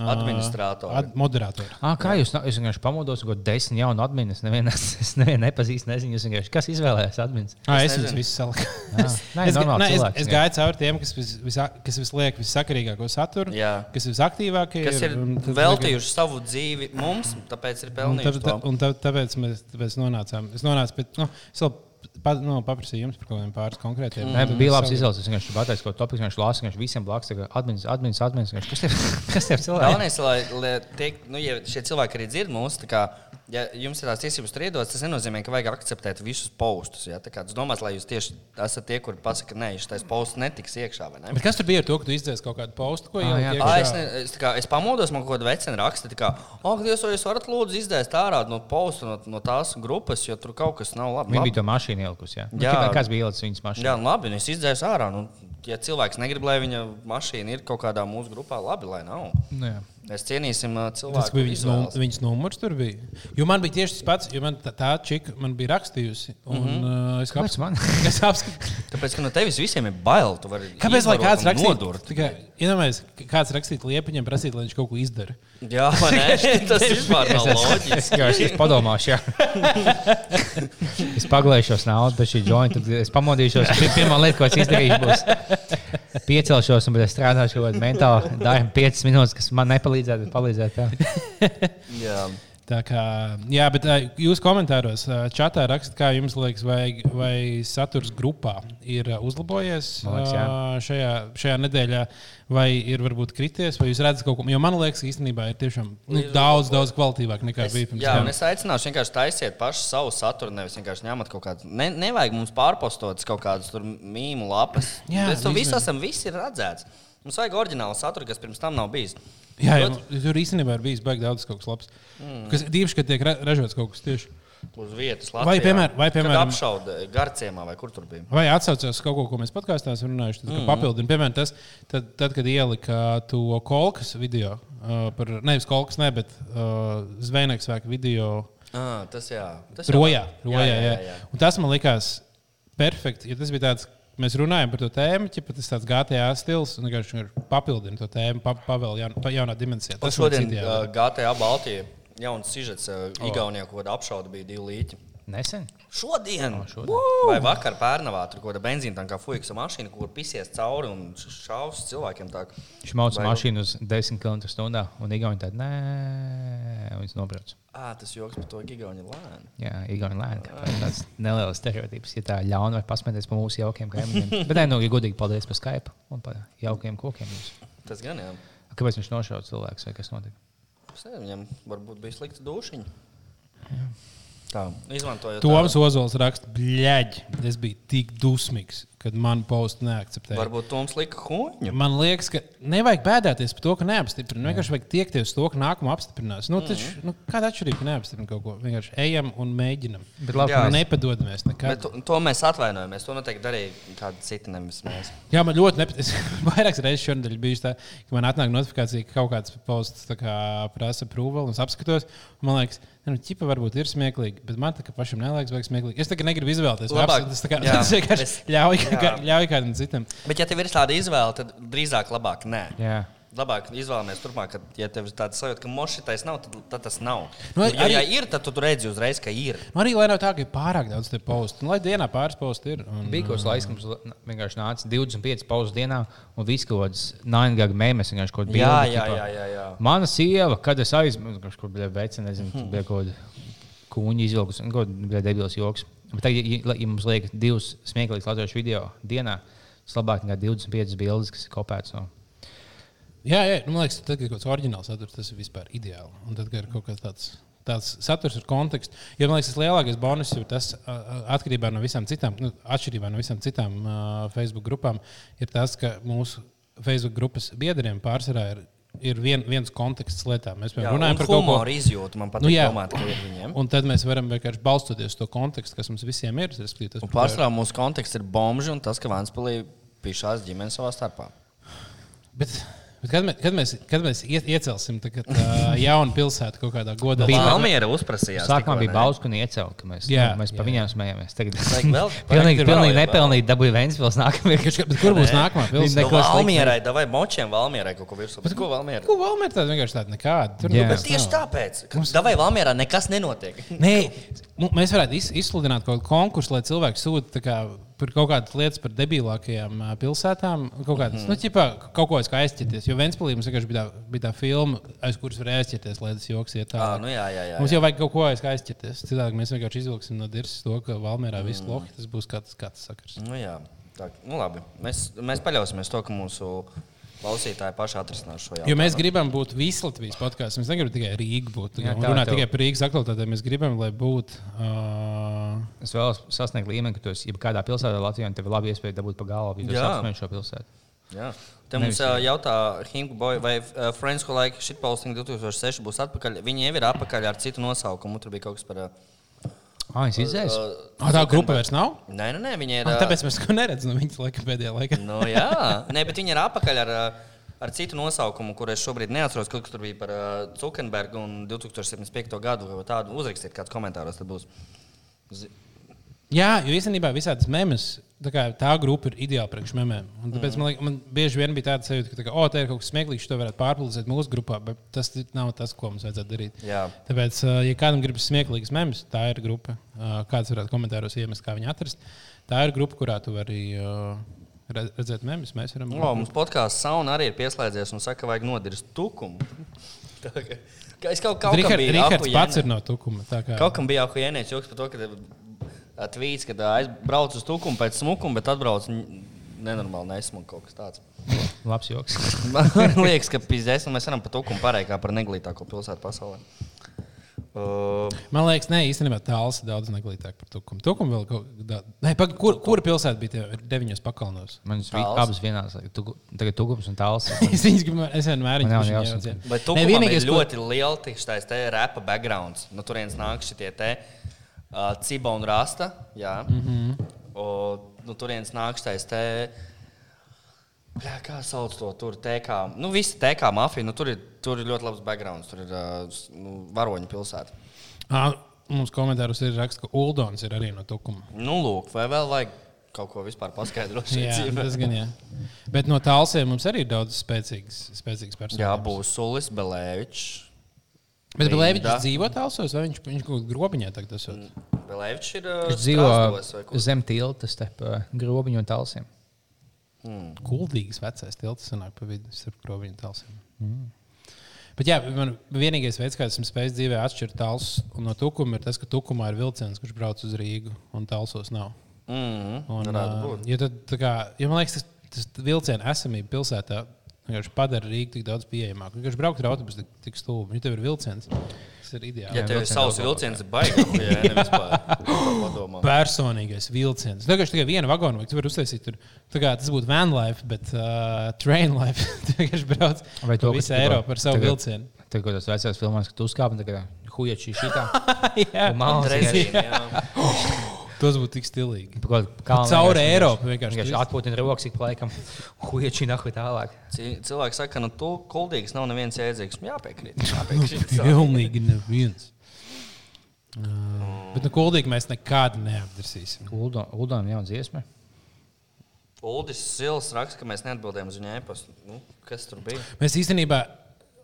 ā, Administratori. Ad moderatori. À, Ah, kā jūs? na- Es vienkārši pamodos, ka desmit jaunu adminus nevienu nevien nepazīstu. Nezinu, jūs vienkārši kas izvēlējās adminus. Ah, es viņus visus saliku. Jā. Nē, Es, ga- normāli nē, es, cilvēks, es jā. gāju cauri tiem, kas, vis, vis, kas visliek vissakarīgāko saturu, Jā. kas visaktīvākie Kas ir un tad- veltījuši savu dzīvi mums, tāpēc ir Un pelnījuši tāpēc, to. un tā- tāpēc mēs tāpēc nonācām. Es nonācu pie nu, es vēl pa, nu, paprasīju jums par kaut kādiem pāris konkrētiem. Nē, bet bija labs Savu- izvēles. Es vienkārši pateicu, ko topiks viņš lasa. Viņš visiem blakus ir admins, admins, admins. vienkārši, Kas tev, kas tev cilvēks? Galvenais, lai, lai tiek, nu, ja šie cilvēki arī dzird mūsu, tā kā, ja jums ir tās tiesības strīdos, tas nenozīmē, ka vajag akceptēt visus postus. Ja? Tā kā Es domāju, lai jūs tieši esat tie, kuri pasaka, ka nē, šis posts netiks iekšā. vai ne? Bet kas tur bija ar to, ka tu izdzēsi kaut kādu postu, ko jau Ah, jā. Ā, Ah, es, ne, es, tā kā, es pamodos, man kaut kāda vecena raksta, ka, ak, Dievs, vai jūs varat lūdzu izdēst ārā no pausa, no, no tās grupas, jo tur kaut kas nav labi. Viņa bija labi. to mašīnu ielikusi. Jā, Jā. jā. kas bija ielicis viņas mašīnā? Jā, nu labi, nu es izdzēsu ārā. Nu, ja cilvēks negrib, lai viņa mašīna ir kaut kādā mūsu grupā, labi, lai nav. Nu, jā. Mēs cienīsim ā, cilvēku. Tas bija nu, viņas, num, izvēles. viņas numurs. Tur bija. Jo man bija tieši tas pats, jo man tā, tā čika man bija rakstījusi. Un, Mhm. mm -hmm. uh, es Kāpēc man? Es apskatu, Tāpēc, ka no tevis visiem ir bail. tu vari kāpēc lai izvarot kāds un rakstītu? nodurt. Tikai, iedomājies, k- Kāds rakstītu liepiņam, prasīt, lai viņš kaut ko izdara. Jā, vai ne? tas vispār nav loģiski. Es, es, es padomāšu, jā. es paglēšos naudu, bet šī joint, tad es pamodīšos. Pir- Pirmā lieta, ko es izdarīšu, būs piecelšos, un bet es strādāšu kaut kādā mentāli. Dājam 5 minūtes, kas man nepalīdzētu, bet palīdzētu. Jā. Jā. Tā kā, jā, bet uh, jūs komentāros uh, čatā rakstāt, kā jums liekas, vai, vai saturs grupā ir uh, uzlabojies Man liekas, jā. uh, šajā, šajā nedēļā, vai ir varbūt krities, vai jūs redzat kaut ko. Jo man liekas, īstenībā ir tiešām nu, daudz, daudz kvalitīvāk nekā Es, bija pirms jā, tam. un es aicināšu vienkārši taisiet pašu savu saturu. Nevis vienkārši ņemat kaut kādu. Ne, nevajag mums pārpostotas kaut kādas tur mīmīmu lapas. Jā, Mēs to izvēl- visu esam visi redzēts. Mums vajag oriģinālu saturu, kas pirms tam nav bijis. Jā, jā, tur īstenībā ir bijis baigi daudz kaut kas labs. Mm. Kas dīvaini, ka tiek ra- ražots kaut kas tieši. Uz vietas, Vai, piemēr- vai, piemēram- apšauda garciemā vai kur tur bija. Vai atcaucās kaut ko, ko mēs podkāstā esam runājuši? Tad, mm. Papildinu, piemēram, tas, tad, tad, kad ielika to kolekcijas video, uh, par, nevis kolekcijas, ne, bet uh, zvejnieks vēka video Ah, tas jā. Tas jau- rojā. rojā jā, jā, jā. Un Tas man likās perfekti. Ja tas bija tāds, mēs runājam par to tēmu, ja tas tāds GTA stils, un vienkārši ir papildina to tēmu, pa, pavēl jaun, pa, jaunā dimensijā. Un Tas man šodien citiem- uh, GTA Baltijā jauns sižets uh, Igaunijā, ko apšauda bija divi līķi. Nesen. Šodien! šodien. Woo! Vai vakar pērnavā tur kaut kāda benzīna tā kā fuiksa mašīna, kur pisies cauri un š- šaus cilvēkiem. Tā. Viņš mauca Vai- mašīnu uz 10 km/h, un Igaunija tāda nē, un viņš nobrauc. Ā, tas joks par to Igauniju lēnu. Jā, Igaunija lēna. Tāds neliels stereotips, ja tā ļauna vai pasmēties par mūsu jaukiem kaimiņiem. Bet, nē, nu, ja godīgi, paldies par Skype un par jaukiem kokiem. Jums. Tas gan jā. Kāpēc viņš nošāva cilvēku vai kas notika? Es nezinu, Viņam varbūt bija slikta dušiņa. Tā, izmantojot Toms Ozols raksta, bļaigi, es biju tik dusmīgs. kad man postu neakceptē. Varbūt Toms lika huņu. Man liekas, ka nevajag bēdāties par to, ka neapstiprina. Vienkārši vajag tiekties uz to, ka nākamā apstiprinās. Nu, taču, nu, kāda atšķirība, ka neapstiprina kaut ko? Vienkārši ejam un mēģinam. Bet labi, Jā. Jā. Nepadodamies Bet nekad. to, to mēs atvainojamies. To noteikti darīja kāda cita nevis mēs. Jā, man ļoti nepatīk. Vairākas reizes šonadēļ bija tā, ka man atnāk notifikācija, ka kaut kāds posts tā kā, prasa approval, un es apskatos. un Man liekas, ne, nu, ķipa varbūt ir smieklīgi, bet man tā kā pašam neliekas, vajag smieklīgi. Es tā kā negribu izvēlēties. vai Labāk. apskat- Es tā kā Jā. es vienkārši Es- ļauju, Jā. kā- ļauju kādam citam. Bet, ja tev ir tāda izvēle, tad drīzāk labāk nē. Jā. Labāk izvēlamies turpmāk, kad ja tev ir tāds sajūta, ka mošitais nav, tad, tad tas nav. Nu, Nu, ja, arī- ja ir, tad tu, tu redzi uzreiz, ka ir. Man Nu, arī lai nav tā, ka ir pārāk daudz tie postu. Nu, Lai dienā pāris postu ir. Un, Bija kaut kāds laiks, kad mums vienkārši nāca 25 pauzes dienā, un viss kaut kāds nāņgaga mēmēs vienkārši kaut Jā, kāda jā, jā, jā, jā. Mana sieva, kad es aizmirsu, kurš kur bija veci, nezinu, tur bija kaut kāda kūņa izvilkus, un kaut kāda debils joks. Bet tagad, ja, ja- ja mums liekas divas smieklīgas latviešu video dienā, tas labāk nekā 25 bildes, kas ir kopētas no. Jā, jā, nu, man liekas, tad, kad ir kaut kāds oriģināls saturs, tas ir vispār ideāli. Un tad, kad ir kaut kas tāds. Tāds saturs ir konteksts. Jo, man liekas, tas lielākais bonus ir tas, a, a, atkarībā no visām citām, nu, atšķirībā no visām citām uh, Facebook grupām, ir tas, ka mūsu Facebook grupas biedriem pārsvarā ir, ir vien, viens konteksts lietām. Mēs Jā, piemēram, runājam un par kaut ko, humoru izjūtu. Man Nu, patīk jā. nu, domāt, ka ir viņiem. un tad mēs varam vienkārši balstoties uz to kontekstu, kas mums visiem ir. respektīvi tas, Un par ko ir- pārsvarā mūsu konteksts ir bomži un tas, ka Vanspēlī pišās ģimenes savā starpā. Bet, bet kad, mē, kad mēs, kad mēs ie- iecelsim tagad, uh, jaunu pilsētu kaut kādā godā? Bija Almiera uzprasījās. tikko, Sākumā bija ne? bausku un iecelt, ka mēs, Jā, jā, nu, mēs pa jā. viņām smējāmies. Tagad tas Vajag vēl? pilnīgi, Vajag vēl, pilnīgi vēl. nepelnīt dabūja Vēnspils nākamajā. Bet kur būs nākamā pilsēta? Nu, Neko sliktu. Valmierai, vai močiem Valmierai kaut ko virsū. Bet ko Valmierai? Ko vēlamies tādu vienkārši tādu nekādu? Tur Jā. nu Bet vairs tieši nav. tāpēc, ka Davai Valmierā nekas nenotiek. Nē, mu- Nu, mēs varētu iz- izsludināt kaut kādu konkursu, lai cilvēki sūta tā kā par kaut kādas lietas par debilākajām ā, pilsētām. Kaut kādas, mm Mhm. -hmm. nu, ķipā, kaut ko aiz kā aizķerties. Jo Vēnspēlī mums vienkārši bija tā, bija tā filma, aiz kuras var aizķerties, lai tas joks iet Ā, tālāk. nu jā, jā, jā, Mums jā. jau vajag kaut ko aiz kā aizķerties. Citādi mēs vienkārši izvilksim no dirses to, ka Mm. Valmērā viss lohi, tas būs kāds, kāds sakars. Nu, jā. Tā, nu, labi. Mēs, mēs paļausimies to, ka mūsu klausītāji pašā atrisinās šo Jo jautājumu. mēs gribam būt visi Latvijas podkāstā. Mēs negribam tikai Rīgā būt. Jā, Jā, tā, runāt tev- tikai par Rīgas aktualitātēm. Mēs gribam, lai būtu. Uh, Es vēlos sasniegt līmeni, ka tu esi jebkādā pilsētā Latvijā, un tev ir laba iespēja dabūt pa galvu, ja tu Jā. apsmēji šo pilsētu. Jā. Te mums uh, jautā, Himboy, vai uh, Friends, ko laika šī posting 2006 būs atpakaļ. Viņi jau ir atpakaļ ar citu nosaukumu. Tur bija kaut kas par. Uh, Ah, viņš izdzēs. Ah, tā grupa vairs nav. nē, nē, nē, viņi ir. Tā. uh, Ah, Tāpēc mēs to neredzam no viņas laika pēdējā laikā. Nu, jā, Nē, bet viņi ir apakaļ ar, ā, ar citu nosaukumu, kur es šobrīd neatceros. Kaut kas tur bija par ā, Zukenbergu un 2075. gadu. vai Tādu uzrakstiet, kāds komentāros tad būs. Zi- Jā, jo īstenībā visādas memes, tā, kā, tā grupa ir ideāla priekš memēm. Un Tāpēc Mm. man, liek, man bieži vien bija tāda sajūta, ka, tā kā, oh, tā ir kaut kas smieklīgs, to varētu pārpublicēt mūsu grupā, bet tas ir- nav tas, ko mums vajadzētu darīt. Jā. Tāpēc, uh, ja kādam gribas smieklīgas memes, tā ir grupa. Uh, Kāds varētu komentāros iemest, kā viņu atrast. Tā ir grupa, kurā tu vari uh, re- redzēt memes. Mēs varam. O, mums podkāsts sauna arī ir pieslēdzies un saka, vajag nodirst tukumu. Tā kā- kā Es kaut kā tādu Rihards, Rihards pats ir no tukuma. tā kā- Kaut kam bija jākuienēts joks par to, ka tvīts, kad aizbrauc uz tukumu pēc smukuma, bet atbrauc n- nenormāli nesmuka kaut kas tāds. Labs joks. Man liekas, ka pīzdēs, un mēs varam pat tukumu pareizi kā par neglītāko pilsētu pasaulē. Uh, Man liekas, ne, īstenībā tāls ir daudz neglītāk par tukumu. Tukumu vēl kaut kādā. Nē, paga, kur, kura pilsēta bija tie deviņos pakalnos? Man ir Tāls. abas vienādas. like, tugu- Tagad tukums un tāls. Es viņus gribēju, es vienmēr Man viņu nav tādu ne jausmas. bet tur vienīgais ir ļoti liels tieši tāds te rapa backgrounds. No turienes nāk šie te uh, ciba un rasta. Jā. Mm -hmm. o, no turienes nāk šis te. Bļā, kā sauc to tur, TK? Nu, visi TK mafija. Nu, tur, ir, tur ir ļoti labs backgrounds. Tur ir uh, s- nu, varoņu pilsēta. À, mums komentāros ir raksts, ka Uldons ir arī no tukuma. Nu, lūk, vai vēl vajag kaut ko vispār paskaidrot šajā Jā, tas dzīvē? gan jā. Bet no tālsiem mums arī ir daudz spēcīgas, spēcīgas personas. Jā, būs Sulis, Belēvičs. Bet Linda. Lēvičs dzīvo tālsos, vai viņš, viņš kaut kur grobiņā tagad esot? Belēvičs ir. Uh, Viņš dzīvo Strasdovas vai kur? zem tilta starp uh, grobiņu un tālsiem. Guldīgs vecais tilts sanāk pa vidu starp grobiņu un tālsiem. Bet jā, man vienīgais veids, kā esmu spējis dzīvē atšķirt tālus no tukuma, ir tas, ka tukumā ir vilciens, kurš brauc uz Rīgu un tālsos nav. Mm -hmm. Un, ā, ja tad, tā kā, ja man liekas, tas, tas vilciena esamība pilsētā Vienkārši padara Rīgu tik daudz pieejamāku. Vienkārši braukt ar autobusu tik, tik stulbi. Ja tev ir vilciens, tas ir Ja ideāli. tev ir vilciens savs vēl vilciens, nu, baigts. Personīgais vilciens. Tagad tikai viena vagona, ko tu vari uztaisīt. Tur, tā kā tas būtu van life, bet uh, train life. Tu vienkārši brauc Vai to, pa kas visu tu- Eiropu ar savu tagad- vilcienu. Tad, kad tas vecās filmās, kad tu uzkāpi, un tagad hujači šī tā. Jā, Mākslinieks. tas būtu tik stilīgi. Kā Cauri Eiropu vienkārši. Vienkārši atpūtina rokas ik pa laikam. Hujači nahu tālāk. Cilvēki saka, nu, tu kuldīgs nav neviens Nu, jēdzīgs. Jā, piekrīt. Pilnīgi neviens. Mm. Uh, bet nu, kuldīgi mēs nekad neapdrasīsim. Uldām jauna dziesma. Uldis Sils raksta, ka mēs neatbildējām uz viņa e-pastu. Nu, kas tur bija? Mēs īstenībā,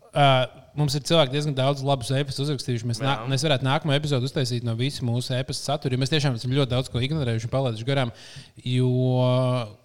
uh, mums ir cilvēki diezgan daudz labus e-pastus uzrakstījuši. Mēs, nā, mēs varētu nākamo epizodu uztaisīt no visu mūsu e-pasta satura, jo mēs tiešām esam ļoti daudz ko ignorējuši un palaiduši garām. Jo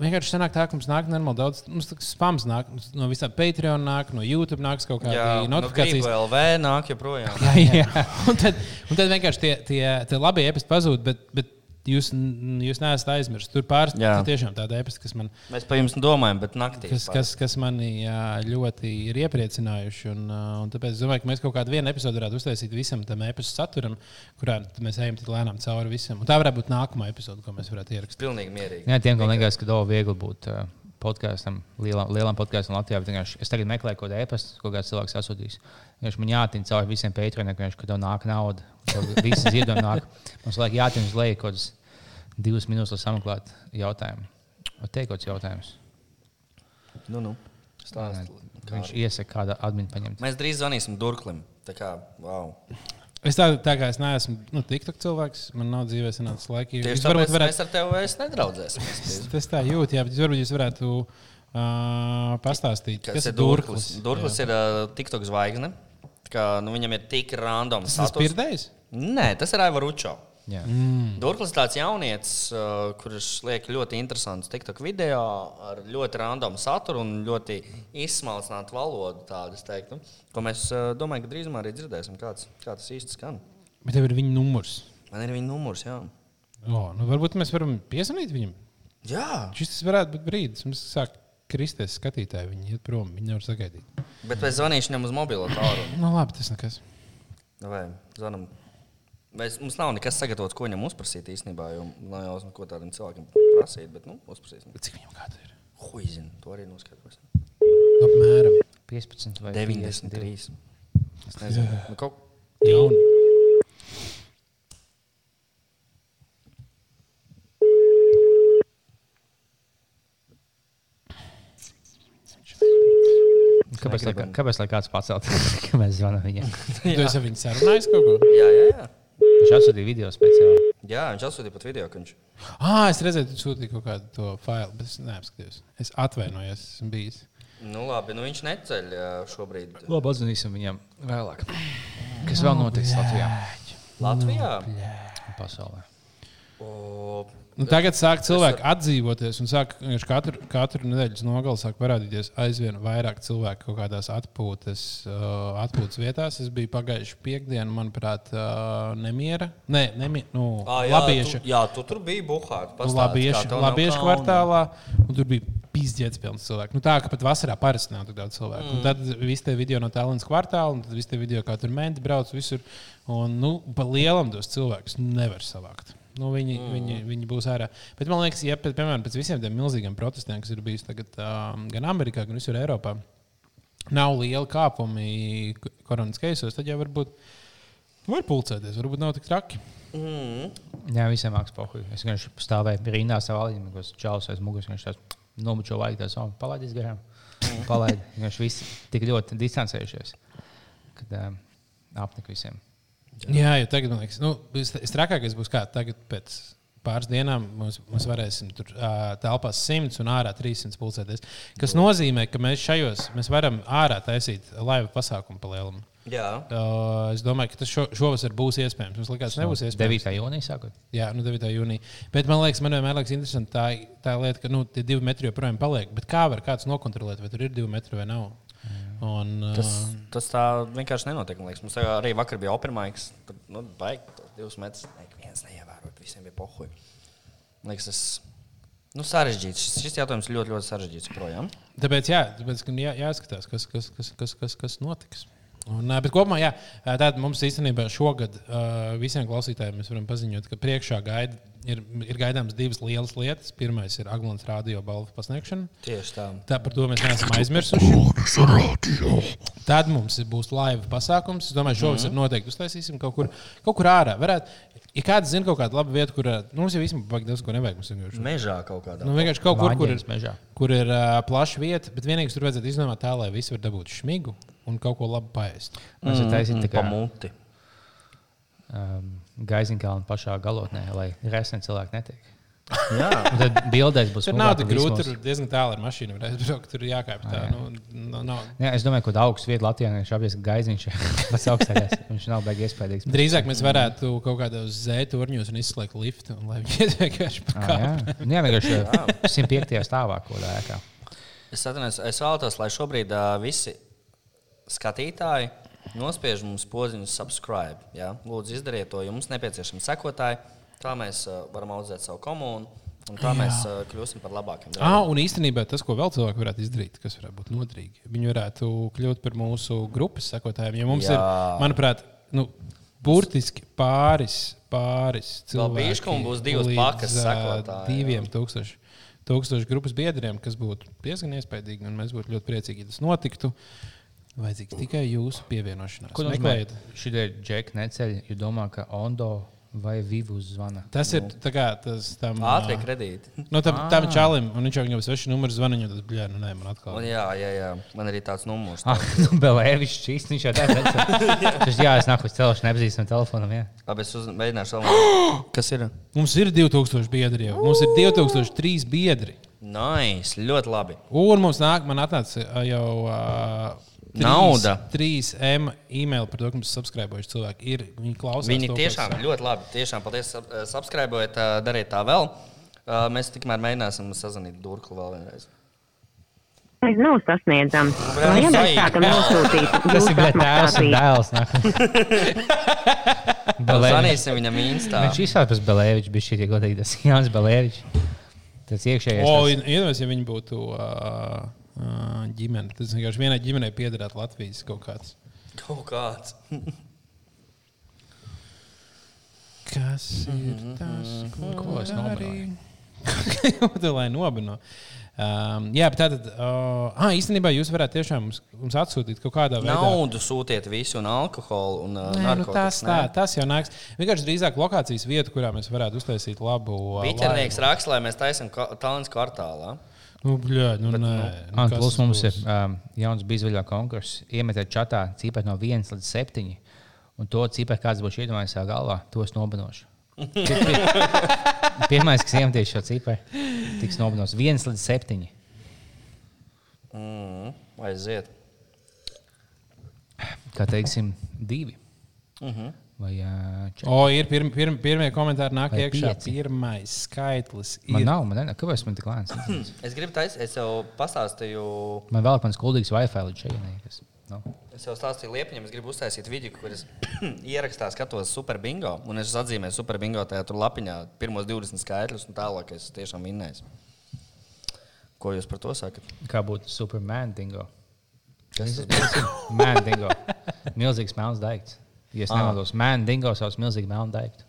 vienkārši sanāk tā, ka mums nāk normāli daudz, mums tā kā spams nāk mums no visām Patreon, nāk no YouTube, nāk kaut kāda no notifikācija. Grību LV nāk joprojām. Jā, jā. un, tad, un tad vienkārši tie, tie, tie labi ēpasti pazūd, bet, bet jūs, n- jūs neesat aizmirsuši. Tur pāris Jā. tie tiešām tādi ēpasti, kas man, Mēs par jums domājam, bet naktī. kas, pat. kas, kas mani jā, ļoti ir iepriecinājuši. Un, uh, un tāpēc es domāju, ka mēs kaut kādu vienu epizodu varētu uztaisīt visam tam ēpastu saturam, kurā tad mēs ejam tik lēnām cauri visam. Un tā varētu būt nākamā epizode, ko mēs varētu ierakstīt. Pilnīgi mierīgi. Jā, tiem, kam liekas, ka daudz viegli būt uh, podkāstam, lielam, lielam podkāstam Latvijā. bet vienkārši Es tagad meklēju kaut kādu e-pastu, ko kāds cilvēks asūtīs. Vienkārši Man jāatņem cauri visiem patroniem, ka tev nāk nauda. Tev visi ziedojumi nāk. Mums laikam jāatņem uz leju kaut kādas divas minūtes, lai sameklētu jautājumu. Vai te ir kaut kāds jautājums? Nu, nu. Nē, Viņš iesaka kādu adminu paņemt. Mēs drīz zvanīsim Durklim. Tā kā, wow. Es tā, tā kā es neesmu nu, TikTok cilvēks, man nav dzīvē sanācis laika. Tieši Jūs tāpēc varbūt varētu... varētu mēs ar tevi vairs nedraudzēsimies. Tas tā jūt, jā, bet varbūt jūs varētu uh, pastāstīt, kas, kas ir Durklis? Durklis. Durklis ir uh, TikTok zvaigzne. Tā Kā, nu, viņam ir tik random. Tas tas status. pirdējis? Nē, tas ir Aivar Učo. Jā. Mm. Durklis ir tāds jaunietis, uh, kurš liek ļoti interesants TikTok video ar ļoti randomu saturu un ļoti izsmalcinātu valodu, tādu es teiktu, ko mēs uh, domājam, ka drīzumā arī dzirdēsim, kāds, kā tas īsti skan. Bet tev ir viņa numurs. Man ir viņa numurs, jā. O, nu varbūt mēs varam piesaistīt viņam. Jā, Šis tas varētu būt brīdis, kad mums sāk kristies skatītāji. Viņi iet prom, viņi nevar sagaidīt. bet es zvanīšu viņam uz mobilo tālu. Nu, labi, tas nekas. Vai zvanam? Vai es- mums nav nekas sagatavots, ko viņam uzprasīt īstenībā. Jo nav jau zināms, ko tādam cilvēkam prasīt. Bet, nu, uzprasīsim. Cik viņam gada ir? Huizin, to arī noskaidrosim. Apmēram. 15 vai 92. 93. Es nezinu, nu, kaut Jaun. Kāpēc, lai, kāpēc lai kāds pacelt? Ka mēs zvanām viņam. Tu esi ar viņu sarunājis kaut ko? jā, jā, jā. Viņš atsūtīja video speciāli. jā, viņš atsūtīja pat video, ka viņš Ah, es redzēju, tu sūtīji kaut kādu to failu, bet es neapskatījos. Es atvainojos, esmu bijis. nu, labi, nu, viņš neceļ ā, šobrīd Labi, atzvanīsim viņam vēlāk. Kas vēl notiks Latvijā? Latvijā. un Pasaulē. O, Nu, tagad sāk cilvēki atdzīvoties, un sāk, vienkārši katru, katru nedēļas nogalē sāk parādīties aizvien vairāk cilvēku kaut kādās atpūtas, uh, atpūtas vietās. Es biju pagājušajā piekdienā, manuprāt, uh, nemiera. Nē, nemie, nu, ā, jā, labieša, Tu, jā, tu tur bija buhāta. nu, labieša, labieša kvartālā, un tur bija pīzdienas pilns cilvēku. Nu, tā kā pat vasarā parasti nav tik daudz cilvēku. Mm. Tad viss tie video no Tallinas kvartāla, un tad viss tie video, kā tur menti brauc visur. Un nu, pa lielam tos cilvēkus nevar savākt. Nu, viņi, mm. viņi, viņi būs ārā. Bet man liekas, ja pēc, piemēram, pēc visiem tiem milzīgiem protestiem, kas ir bijuši tagad, um, gan Amerikā, gan visur Eiropā, nav liela kāpumi k- koronas keisos, tad jau varbūt var pulcēties. Varbūt nav tik traki. Jā, visiem mākslinieks pohuļi. Es vienkārši stāvēju rindā savā līnijā, ko čālis aiz muguras. Viņš tāds nomučo laiku, tas jau palaidīs garām. Palaid. Viņš visi tik ļoti distancējušies, kad um, apnika visiem. Jā, jo tagad man liekas, nu, vis- trakākais būs kā tagad pēc. Pāris dienām mums, mums varēsim tur ā, telpās 100 un ārā 300 pulcēties. Tas nozīmē, ka mēs šajos mēs varam ārā taisīt laivu pasākumu pa lielumu. Jā, Ā, Es domāju, ka tas šo, šovasar būs iespējams. Mums likās, ka nebūs iespējams. 9. jūnijā sākot. Jā, nu 9. jūnijā. Bet man liekas, man vienmēr liekas interesanti tā, tā lieta, ka nu, tie divi metri joprojām paliek. Bet kā var kāds nokontrolēt, vai tur ir divi metri vai nav? Un, tas, tas... tas tā vienkārši nenotiek. man liekas. Mums tā kā arī vakar bija opermaiks. Tur nu, baigi tos divus metrus. Nē, viens neievēroja, visiem bija pohuļi. Man liekas, tas Nu, sarežģīts. Šis, šis jautājums ļoti, ļoti sarežģīts. Projām. Tāpēc, jā, tāpēc gan jā, jāskatās, kas, kas, kas, kas, kas, kas notiks. Un, ā, bet kopumā, jā, ā, tātad mums īstenībā šogad ā, visiem klausītājiem mēs varam paziņot, ka priekšā gaida, ir, ir gaidāmas divas lielas lietas. Pirmā ir Aglons Rādio balvu pasniegšana. Tieši tā. Tā par to mēs neesam aizmirsuši. Uguns radio. Tad mums būs laiva pasākums. Es domāju, šovasar mm -hmm. noteikti uztaisīsim kaut kur, kaut kur ārā. Varētu, ja kāds zina kaut kādu labu vietu, kur ā, nu, mums jau īstenībā baigi daudz ko nevajag. Mums vienkārši, Mežā kaut kādā. nu, vienkārši kaut kur, kur ir, Vāģenes mežā. kur ir uh, plaša vieta, bet vienīgi tur vajadzētu izdomāt tā, lai visi var dabūt šmigu un kaut ko labu paēst. Mēs esam kā taisījuši tā kā muti. um, Gaiziņkalna pašā galotnē, lai resni cilvēki netiek. Jā, Un Tad bildēs būs Tur nav smagāk tik un grūti, vismaz. tur diezgan tālu ar mašīnu var aizbraukt, tur ir jākāpj tā. Nu, nu, nav. Jā, es domāju, ka augsts vietā Latvijā viņš apgājis gaiziņš. Pats augstākais. Viņš nav beigas iespējams. Drīzāk mēs varētu kaut kādos zēturņos un izslēgt liftu, un lai viņi vienkārši Jā, pakāptu. Nu, jā vienkārši 105. stāvā kaut kādā ēkā. es, atvainojos, es vēlētos, lai šobrīd uh, visi skatītāji nospiež mums podziņu, subscribe. Jā? Lūdzu, izdariet to, jo mums nepieciešami sekotāji. Tā mēs uh, varam audzēt savu komunu, un tā jā. mēs uh, kļūsim par labākiem. draugiem. Ah, un īstenībā tas, ko vēl cilvēki varētu izdarīt, kas varētu būt noderīgi, viņi varētu kļūt par mūsu grupas sekotājiem. Jo mums Jā. Jā. ir, manuprāt, nu, burtiski pāris, pāris Vēl cilvēki. bišķi, un būs divas līdz, pakas ā, sekotāji, Diviem tūkstošiem. Tūkstoši grupas biedriem, kas būtu diezgan iespaidīgi, un mēs būtu ļoti priecīgi, ja tas notiktu. Vajadzīgs tikai jūsu pievienošanās. Ko nozīmē? Meklējiet. Šī ir džeka neceļ, jo domā, ka Ondo vai Vivus zvana. Tas ir tā kā tas tam Ātrie kredīti. Nu, tam, tam čalim, un viņš jau viņam svešu numuru zvanīja, tad, bļā, nu, nē, man atkal. Un, jā, jā, jā, man arī tāds numurs. Ah, nu, Belēvis šīs viņš jau tādā veidā. Jā, es nāku uz telefonu, nepazīstam telefonam. Jā. Abi es uz- mēģināšu vēl. Kas ir? Mums ir 2000 biedri jau. Mums ir 2003 biedri. Nice, ļoti labi. Un mums nāk, man atnāca ā, jau ā, trīs- Nauda. 3M e-mail par to, ka mums subscribējuši cilvēki ir. Viņi klausās. Viņi to, ko es tiešām saku. ļoti labi. Tiešām paldies, sub- eh, subscribējiet, eh, dariet tā vēl. Eh, Mēs tikmēr mēģināsim sazvanīt Dārku vēl vienreiz. Nav sasniedzams. Lai Brāl, mēs zaigi. tādu nosūtītu, Tas ir jūsu bijis tēvs un apmaksātību. dēls. Nu, Belēvis. Zvanīsim viņam Viņš īstā. izsāpēs Belēvičs, bija šī godīgi. Tas Jānis Belēvičs. Tas iekšējais. O, Oh, ien- iedomājieties, ja viņi būtu ā, ā, ģimene. Tas vienkārši vienai ģimenei piederētu Latvijas kaut kāds. Kaut kāds. Kas Mhm. ir tas, ko es es nomināju? nomināju? Kādu lai nobino. Um, jā, bet tātad, uh, ah, īstenībā jūs varētu tiešām mums, mums atsūtīt kaut kādā veidā. Naudu sūtiet visu, un alkoholu, un eh, Nē, nu tas, narkotikas. tā, nē? tas jau nāks. Vienkārši drīzāk lokācijas vieta, kurā mēs varētu uztaisīt labu uh, Biķernieks raksta, lai mēs taisām talants kvartālā. laivu. Nu, bļā, nu, nē, nu, Un kas plus tas mums būs? ir um, jauns bizveļā konkurss. Iemetiet čatā cipēt no 1 līdz 7. Un to cipēt, kāds būs iedomājies savā galvā, to es nobinošu. Pirmā, kas iemetīs šo cipēju, tiks nobinots 1 līdz 7. Mm, aiziet. Kā teiksim, 2 Mhm. vai 4. O, ir pirm, pirm, pirmie komentāri, nāk Vai iekšā. pieci? Pirmais skaitlis Man ir. nav, man nav, kāpēc man tik lēns? internets? Es gribu taisīt, es jau pastāstīju. Man vēl ir mans kuldīgs Wi-Fi līdz šejienei. No. Es jau stāstīju Lietuviem, es gribu uztaisīt video, kur es ierakstā skatos super bingo. Un es atzīmēju super bingo tajā tur lapiņā pirmos 20 skaitļus, un tālāk es tiešām vinnēju. Ko jūs par to sakat? Kā būtu Superman dingo? Kas tas Man dingo. Milzīgs melns daigts. Ja Ah. es nemaldos, man dingo savus milzīgi melnu daigtu.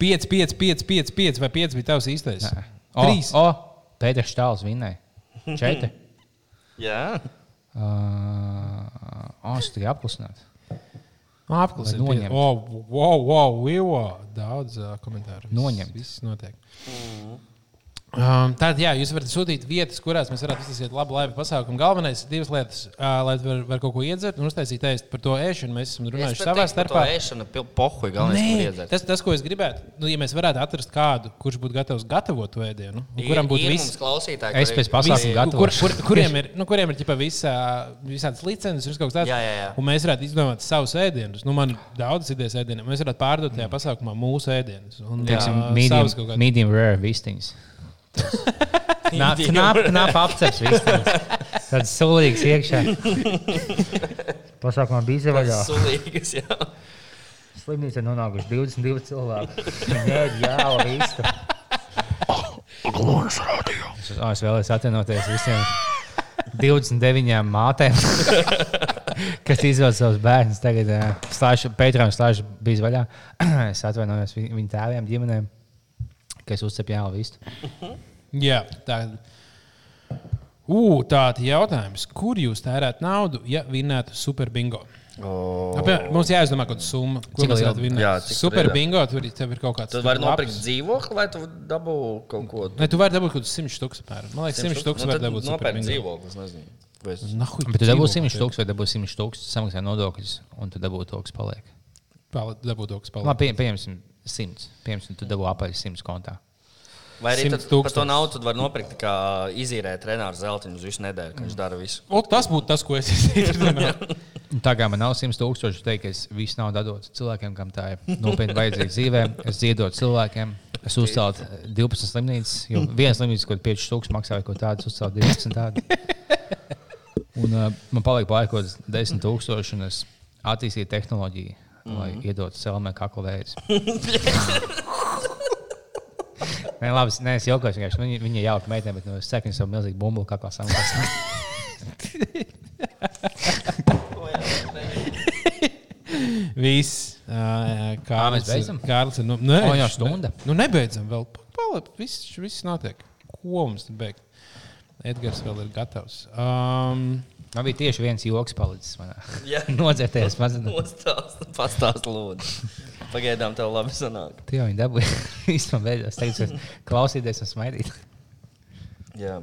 5, 5, 5, 5, 5 vai 5 bija tavs īstais? O, 3. o, Pēters Štāls vinnēja. Četri. Jā, Uh, o, es tikai apklusināts. Apklājums. Vai noņemt? Nu, Wow, wow, wow, wow. Daudz uh, komentāru. Viss- Noņemt. Viss notiek. Um, tad, jā, jūs varat sūtīt vietas, kurās mēs varētu uztaisīt labu laivu pasākumu. Galvenais ir divas lietas, uh, lai var, var kaut ko iedzert un uztaisīt ēst par to ēšanu. Mēs esam runājuši savā starpā. Ēšana, pohuļ, galvenais, kur Nē, iedzert. tas, tas, ko es gribētu, nu, ja mēs varētu atrast kādu, kurš būtu gatavs gatavot to ēdienu, un kuram būtu viss, klausītājs. Es pēc pasākuma Kur, kur, gatavoju. kur, kuriem ir, nu, kuriem ir ķipa, visā, visādas licences, ir kaut kas tāds, Jā, jā, jā. un mēs varētu izdomāt savus ēdienus. Nu, man ir daudzas idejas ēdieniem. Mēs varētu pārdot tajā pasākumā mūsu ēdienus. Un, Mm. Teiksim, ā, savus kaut medium, kādus. medium rare vistiņas. Nāp apceps vistiņas. Tāds sulīgs iekšā. Pasākumā bija zevaļā. Sulīgas, jā. Slimnīca nonākuši 22 cilvēki. Nē, jā, vistu. Uguns radio. Es, oh, es vēlēju atvainoties visiem 29 mātēm, kas izvēlas savus bērnus. Tagad eh, Pētrām slēdz bija vaļā. es atvainojos vi- viņu tēviem, ģimenēm, kas uzcepja jau vistu. Jā, tā ir. Tāda jautājums, kur jūs tērētu naudu, ja vinnētu superbingo? Oh. Apmēram, mums jāizdomā, kāda summa. Ko Cik mēs liela? varētu vinēt? Jā, cik tur ir? Superbingo, tur ir, tev ir kaut kāds. Tad var labs- nopirkt dzīvokli, vai tu dabū kaut ko Nē, tu vari dabūt kaut kādus 100 stūkus. Man liekas, 100 Nu stūkus var dabūt. Nopirkt Superbingo. dzīvokli, es nezinu. Vai es- Nahuj, Bet tu dabūsi dzīvo, 100 stūks vai dabūsi 100 stūks, samaksā nodokļus, un tu dabūsi to, kas paliek. Pal- Dabūt augstu palīdzību. Labi, pie- pieņemsim 100. Pieņemsim, tu dabūsi apaļ 100 kontā. Vai arī 100 tad, par to tūkstoši. naudu tad var nopirkt, tā kā izīrēt Renāru Zeltiņu uz visu nedēļu, ka viņš dara visu. O, tas būtu tas, ko es izdarīju. Un Tā kā man nav 100 tūkstoši, es teiktu, ka es visu naudu dodu cilvēkiem, kam tā ir nopietni vajadzīga dzīvē. Es ziedotu cilvēkiem, es uzceltu eh, 12 slimnīcas, jo viena slimnīca kaut kāda 5 tūkstoši maksā vai kaut tādu, uzceltu 12 tādu. Un uh, man palika pārkot 10 tūkstoši, un es attīstīju tehnoloģiju, lai mm -hmm. iedotu celmē kaklu vējus. Nē, labi, es- nē, es jokoju, vienkārši viņa, viņa ir jauka meitene, bet nu, es sekinu savu milzīgu bumbu kaklā samaksā. Viss. Ā, jā, Ā, mēs Kārlis ir- beidzam? Kārlis ir. Nu, nē, O, jā, viņš- stunda. Nu, nebeidzam vēl. Paliek, viss, viss notiek. Ko mums te beigt? Edgars vēl ir gatavs. Um, Man bija tieši viens joks palicis manā. Jā. Nodzēties mazliet. Pastāst, pastāst lūdzu. Pagaidām tev labi sanāk. Tu jau viņu dabūji. Īstenībā beigās teicu, klausīties un smaidīt. Jā.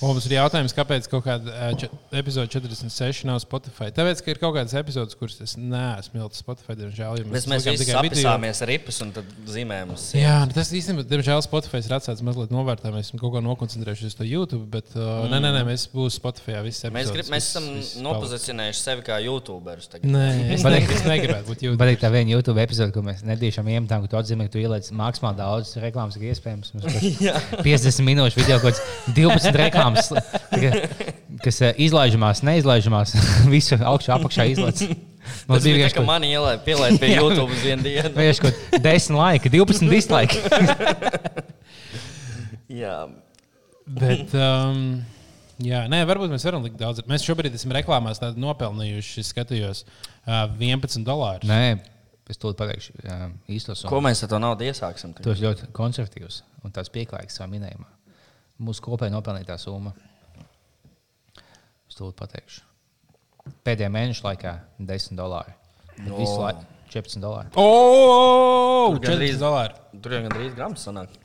o, mums ir jautājums, kāpēc kaut kāda ā, čet- epizode 46 nav Spotify? Tāpēc, ka ir kaut kādas epizodes, kuras es neesmu milzīgs Spotify, diemžēl. jo Mēs, mēs slikām visi apstāmies ar ripas un tad zīmējam uz sienas. Jā, nu tas īstenībā, diemžēl, Spotify ir atsācis mazliet novērtā. Mēs esam kaut kā nokoncentrējušies uz to YouTube, bet uh, mm. nē, nē, nē, mēs būsim Spotify. Mēs, grib, mēs esam nopozicionējuši sevi kā youtuberus. Nu, tagad. Nē, es, ne, es negribētu būt YouTube. Man liekas, tā viena YouTube epizode, ko mēs nedīšām iemetām, ka tu atzīmē, ka tu ieliec mākslā daudz reklāmas, kas iespējams. Mums kaut kāds 50 minūšu video, kaut kāds 12 reklāmas, ka- kas eh, izlaižamās, neizlaižamās, visu augšā, apakšā izlaiž. Tas Mums bija bija tā, ka vienkārši man ielēja pielēt pie Jā. YouTube uz vienu dienu. vienkārši kaut kāds 10 laika, 12 dislike. Jā. Bet, um, jā, nē, varbūt mēs varam likt daudz. Mēs šobrīd esam reklāmās tādu nopelnījuši, skatījos, uh, 11 dolārus. Nē, es to pateikšu eh, īstos. un- Ko mēs ar to naudu iesāksim? Tu esi ļoti konservatīvs un tāds pieklājīgs savā minējumā. Mūsu kopēji nopelnītā summa. Es to pateikšu. Pēdējā mēneša laikā 10 dolāri. No. Visu laiku 14 dolāri. Oh! O, Tur gandrīz- 40 dolāri! Tur jau gandrīz grams sanāk.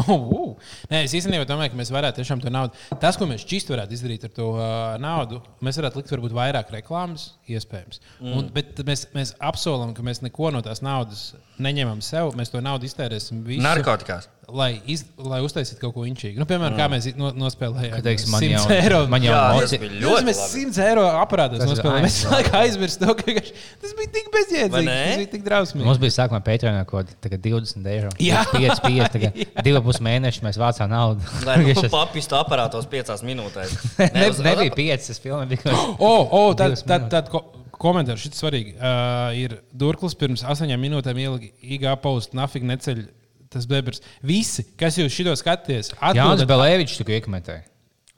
Oh, Nē, es īstenībā domāju, ka mēs varētu tiešām to naudu. Tas, ko mēs čīsti varētu izdarīt ar to uh, naudu, mēs varētu likt varbūt vairāk reklāmas, iespējams. Mm. Un, bet tad mēs, mēs apsolam, ka mēs neko no tās naudas neņemam sev. Mēs to naudu iztērēsim visu, Narkotikās. lai, iz, lai uztaisītu kaut ko inčīgu. Nu, piemēram, mm. kā mēs i- no, nospēlējām Kad teiks, man 100 jau eiro. Man jau Jā, tas emoci... bija Ļoti ļoti mēs labi. 100 eiro aprādājām. Tas ir Mēs aizsākt. laikam aizmirstām, ka vienkārši tas bija tik Vai bezjēdzīgi. ne? Tas bija tik drausmīgi. Mums bija sākumā Patreonā kaut kāda 20 eiro. Jā. 5, 5, 5, 2,5 mēneši mēs vācām naudu. Lai Vienkārši nu es- papistu aparātos piecās minūtēs. Ne, uz- nebija 5, es filmēju tikai. Oh, oh, tad, Divas tad, minūtes. tad ko, komentārs šis svarīgi. Uh, ir Durklis pirms astoņām minūtēm ielika IG postu, nafig neceļ tas bebrs. Visi, kas jūs šito skaties, Jānis atbildiet. Belēvičs tikai iekomentēja.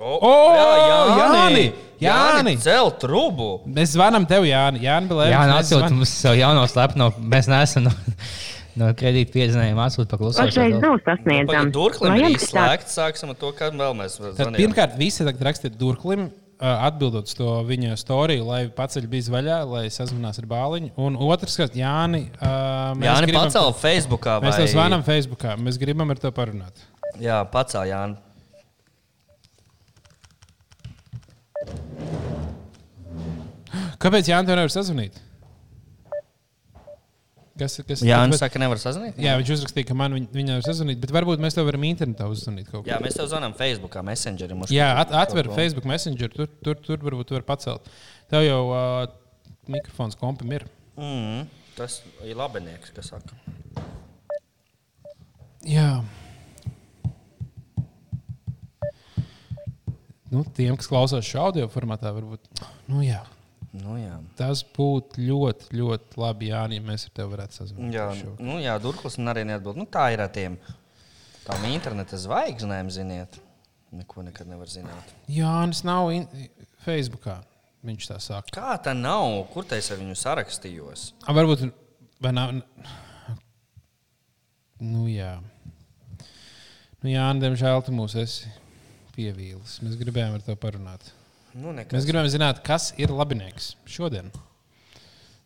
O, O, jā, Jāni! Jāni! Jāni, Jāni! cel trubu! Mēs zvanām tev, Jāni. Jāni Belēvičs, Jā, nē, mēs atsūtiet zvanām. mums savu jauno slepno. Mēs neesam no, no kredīta piedzinējuma atsūtīt Pašreiz paklusējumu. nav sasniedzams. Turklī Lai ir apstākļi- izslēgts. Sāksim ar to, kad vēl mēs Tad zvanījām. pirmkārt, visi tagad rakstiet Durklim. uh, Atbildot uz to viņa stāstu, lai paceļ bija vaļā, lai sazvanās ar bāliņu. Un otrs, kas Jāni, uh, mēs Jāni gribam- pacēla Facebookā. Mēs vai- tev zvanām Facebookā. Mēs gribam ar to parunāt. Jā, pacēla Jāni. Kāpēc Jānis nevar sazvanīt? Kas ir tas? Jāni saka, nevar sazvanīt. Jā, viņš uzrakstīja, ka man viņ- viņa nevar sazvanīt, bet varbūt mēs tev varam internetā uzzvanīt kaut ko. Jā, mēs tev zvanām Facebookā, Messengerī. mums Jā, kaut at, ko- atver kaut ko. Facebook Messenger, tur, tur, tur varbūt tu vari pacelt. Tev jau uh, mikrofons kompam ir. Mm, tas ir labinieks, kas saka. Jā. Nu, tiem, kas klausās šajā audio formātā, varbūt nu, jā, Nu, jā. tas būtu ļoti, ļoti labi, Jānis, ja mēs ar tevi varētu sazvanīt. Jā, Šo- nu, jā Durklis man arī neatbild. Nu, tā ir ar tiem tām interneta zvaigznēm, ziniet. Neko nekad nevar zināt. Jānis nav in... Facebookā. Viņš tā saka. Kā tā nav? Kur tā es ar viņu sarakstījos? A, varbūt. Vai nav. Nu, jā. Nu, jā, nē, diemžēl tu mūs esi pievīlis. Mēs gribējām ar tevi parunāt. Nu, Mēs nekas. gribējām zināt, kas ir labinieks šodien.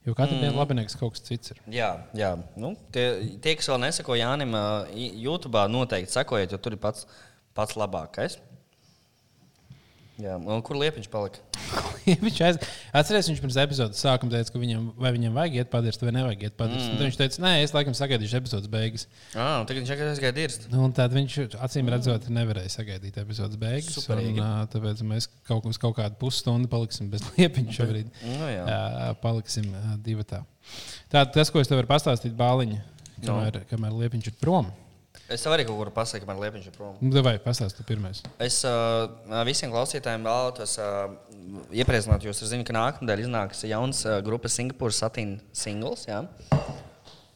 Jo katru mm. dienu labinieks kaut kas cits ir. Jā, jā. Nu, tie, tie, kas vēl neseko Jānim, ā, i- YouTube, noteikti sekojiet, jo tur ir pats, pats labākais. Jā, un kur liepiņš palika? viņš aiz... Atcerieties, viņš pirms epizodes sākuma teica, ka viņam, vai viņam vajag iet padirst vai nevajag iet padirst. Mm. Tad viņš teica, nē, es laikam sagaidīšu epizodes beigas. Ah, tagad viņš vienkārši aizgāja dirst. Nu, un tad viņš acīm redzot, nevarēja sagaidīt epizodes beigas. Un, Superīgi. uh, tāpēc mēs kaut, uz kaut kādu pusstundu paliksim bez liepiņa šobrīd. Nu, jā. Uh, paliksim uh, divi tā. Tātad tas, ko es tev varu pastāstīt, Bāliņa, Nu. kamēr, no. kamēr liepiņš ir prom, Es tev arī kaut kur pasaku, ka man liepiņš ir prom. nu, vai pastāsti tu pirmais. Es uh, visiem klausītājiem vēlos uh, iepriecināt jūs. Es zinu, ka nākamnedēļ iznāks jauns uh, grupas Singapūras satīna singls. Jā.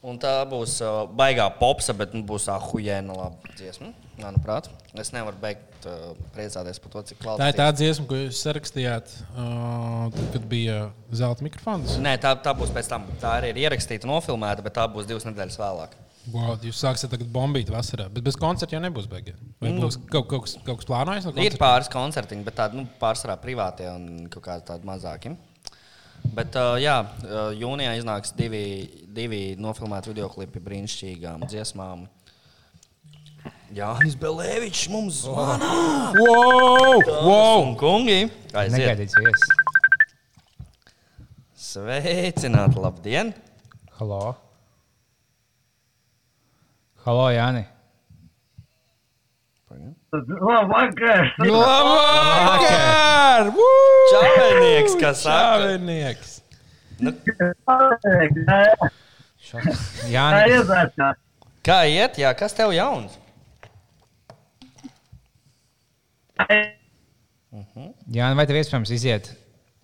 Un tā būs uh, baigā popsa, bet nu, būs ahujēna laba dziesma. Manuprāt, es nevaru beigt uh, priecāties par to, cik Tā klāta ir tā dziesma, ko jūs sarakstījāt, uh, tad, kad bija zelta mikrofons. Nē, tā, tā būs pēc tam. Tā arī ir ierakstīta, nofilmēta, bet tā būs divas nedēļas vēlāk. Wow, jūs sāksiet tagad bombīt vasarā, bet bez koncerta jau nebūs beigas. Vai būs kaut, kaut, kas, kaut kas plānojis? No Nu. Ir koncerta? pāris koncertiņi, bet tādi nu, pārsvarā privātie un kaut kādi tādi mazāki. Bet, uh, jā, uh, jūnijā iznāks divi, divi nofilmēti video klipi brīnišķīgām dziesmām. Jā, Nīs Belēvičs mums zvanā. Wow! wow! Un kungi, aiziet. Negaidīts viesis. Sveicināti, labdien! Halo. Halo, Jāni. Labvakar! Labvakar! Woo! Čāvenieks, kas saka? Čāvenieks! Jāni, Kā iet? Jā, kas tev jauns? Jāni vai tev iespējams iziet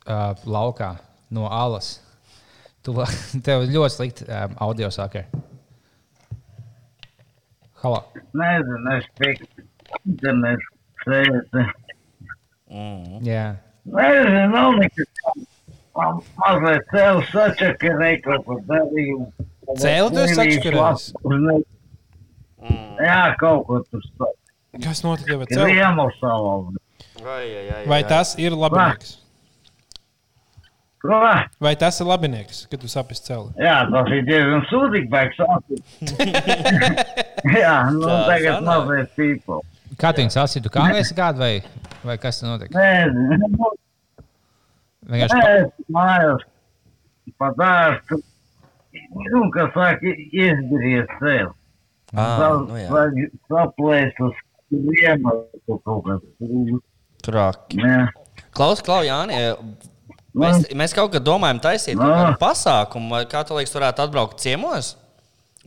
uh, laukā no alas? Tu, va- tev ļoti slikti um, audio sakari. Halo. Nezinu, es tiku internets sēdi. Mm. Jā. Nezinu, nav nekas. Man mazliet cēlu sačakarēju kaut ko darīju. Cēli tu esi sačakarējis? sačakarēju? Jā, kaut ko tur sačakarēju. Kas notika ar tevi? Kriemusalam. Vai, jā, jā, Vai tas ir labinieks? Ko? Vai tas ir labinieks, kad tu sapņo celi? Jā, tas ir diezgan sūdīgi, bet sāpīgi. Jā, nu Tā, tagad sanāk. mazliet pīpo. Kā tu viņu sasitu? Kā mēs gājām, vai, vai kas tur notika? Nezinu, nu, Vienkārši pa- es mājās padārstu. Nu, kā saka, izdarījies sev. Ah, nu jā. Saplēst uz kriemu kaut kas. Traki. Jā, Klaus, Klau, Jāni, e, mēs, mēs kaut kā domājam, taisīt kaut kādu pasākumu. Vai Kā tu liekas, varētu atbraukt ciemos?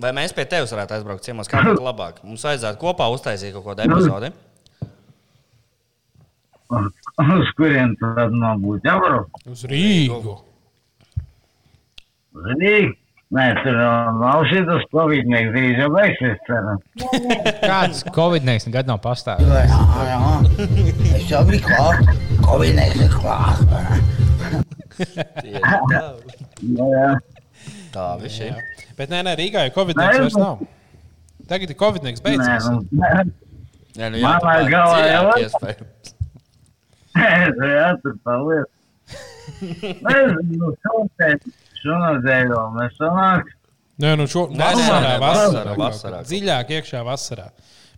Vai mēs pie tevis varētu aizbraukt ciemos? Kā būtu labāk? Mums vajadzētu kopā uztaisīt kaut kādu epizodi. uz kuriem tad man būtu jābrauc? Uz Rīgu. Zini, nē, tur vēl nav šis pavidnieks, drīz jau beigsies, cerams. kāds Covid-19 gadu nav pastāvējis. Nu, Tā viņš ir. Bet nē, nē, Rīgā jau Covid-19 vairs nav. Tagad ir Covid-19 beidzies. nu. Nē, Jā, nu Mamā galā jau var? iespēja. nu, jā, tur paliek. Nezinu, šonadēļ, šonadēļ vēl nesanāks. Nē, nu šo nē, vasarā, nē, vasarā, vasarā, vasarā. vasarā. Dziļāk iekšā vasarā.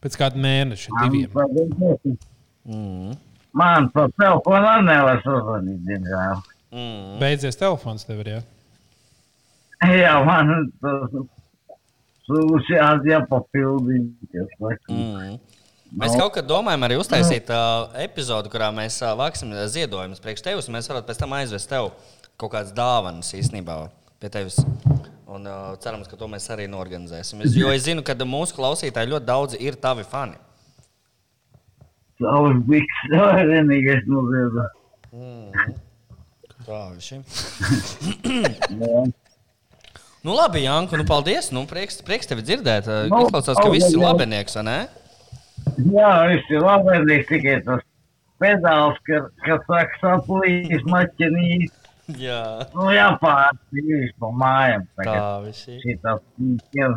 Pēc kāda mēneša, nu, diviem. um Diviem. Man pa telefonu nevar sazvanīt, diemžēl. Mm. Beidzies telefons tev ir. Jā. Jā, man tas sūs jāpapildīt. Hum. Mēs kaut kad domājam arī uztaisīt uh, epizodi, kurā mēs uh, vāksim ā, ziedojumus priekš tevis. un Mēs varētu pēc tam aizvest tev kaut kādas dāvanas īstenībā pie tevis. Un uh, cerams, ka to mēs arī norganizēsim. Es, jo es zinu, ka mūsu klausītāji ļoti daudzi ir tavi fani. Savs biks, vienīgais noziedā. Tā viņš ir. Nu, labi, Janku, nu, paldies. Nu, prieks, prieks tevi dzirdēt. Uh, Nu, Izklausās, ka paldies, viss ir jā. labinieks, vai ne? Jā, viņš ir labvēlīgs tikai tas pedāls, ka- kas saka, saplīs maķinīs. Jā, Nu, jāpārstīvis pa mājām. tā tagad. viss ir. Šitās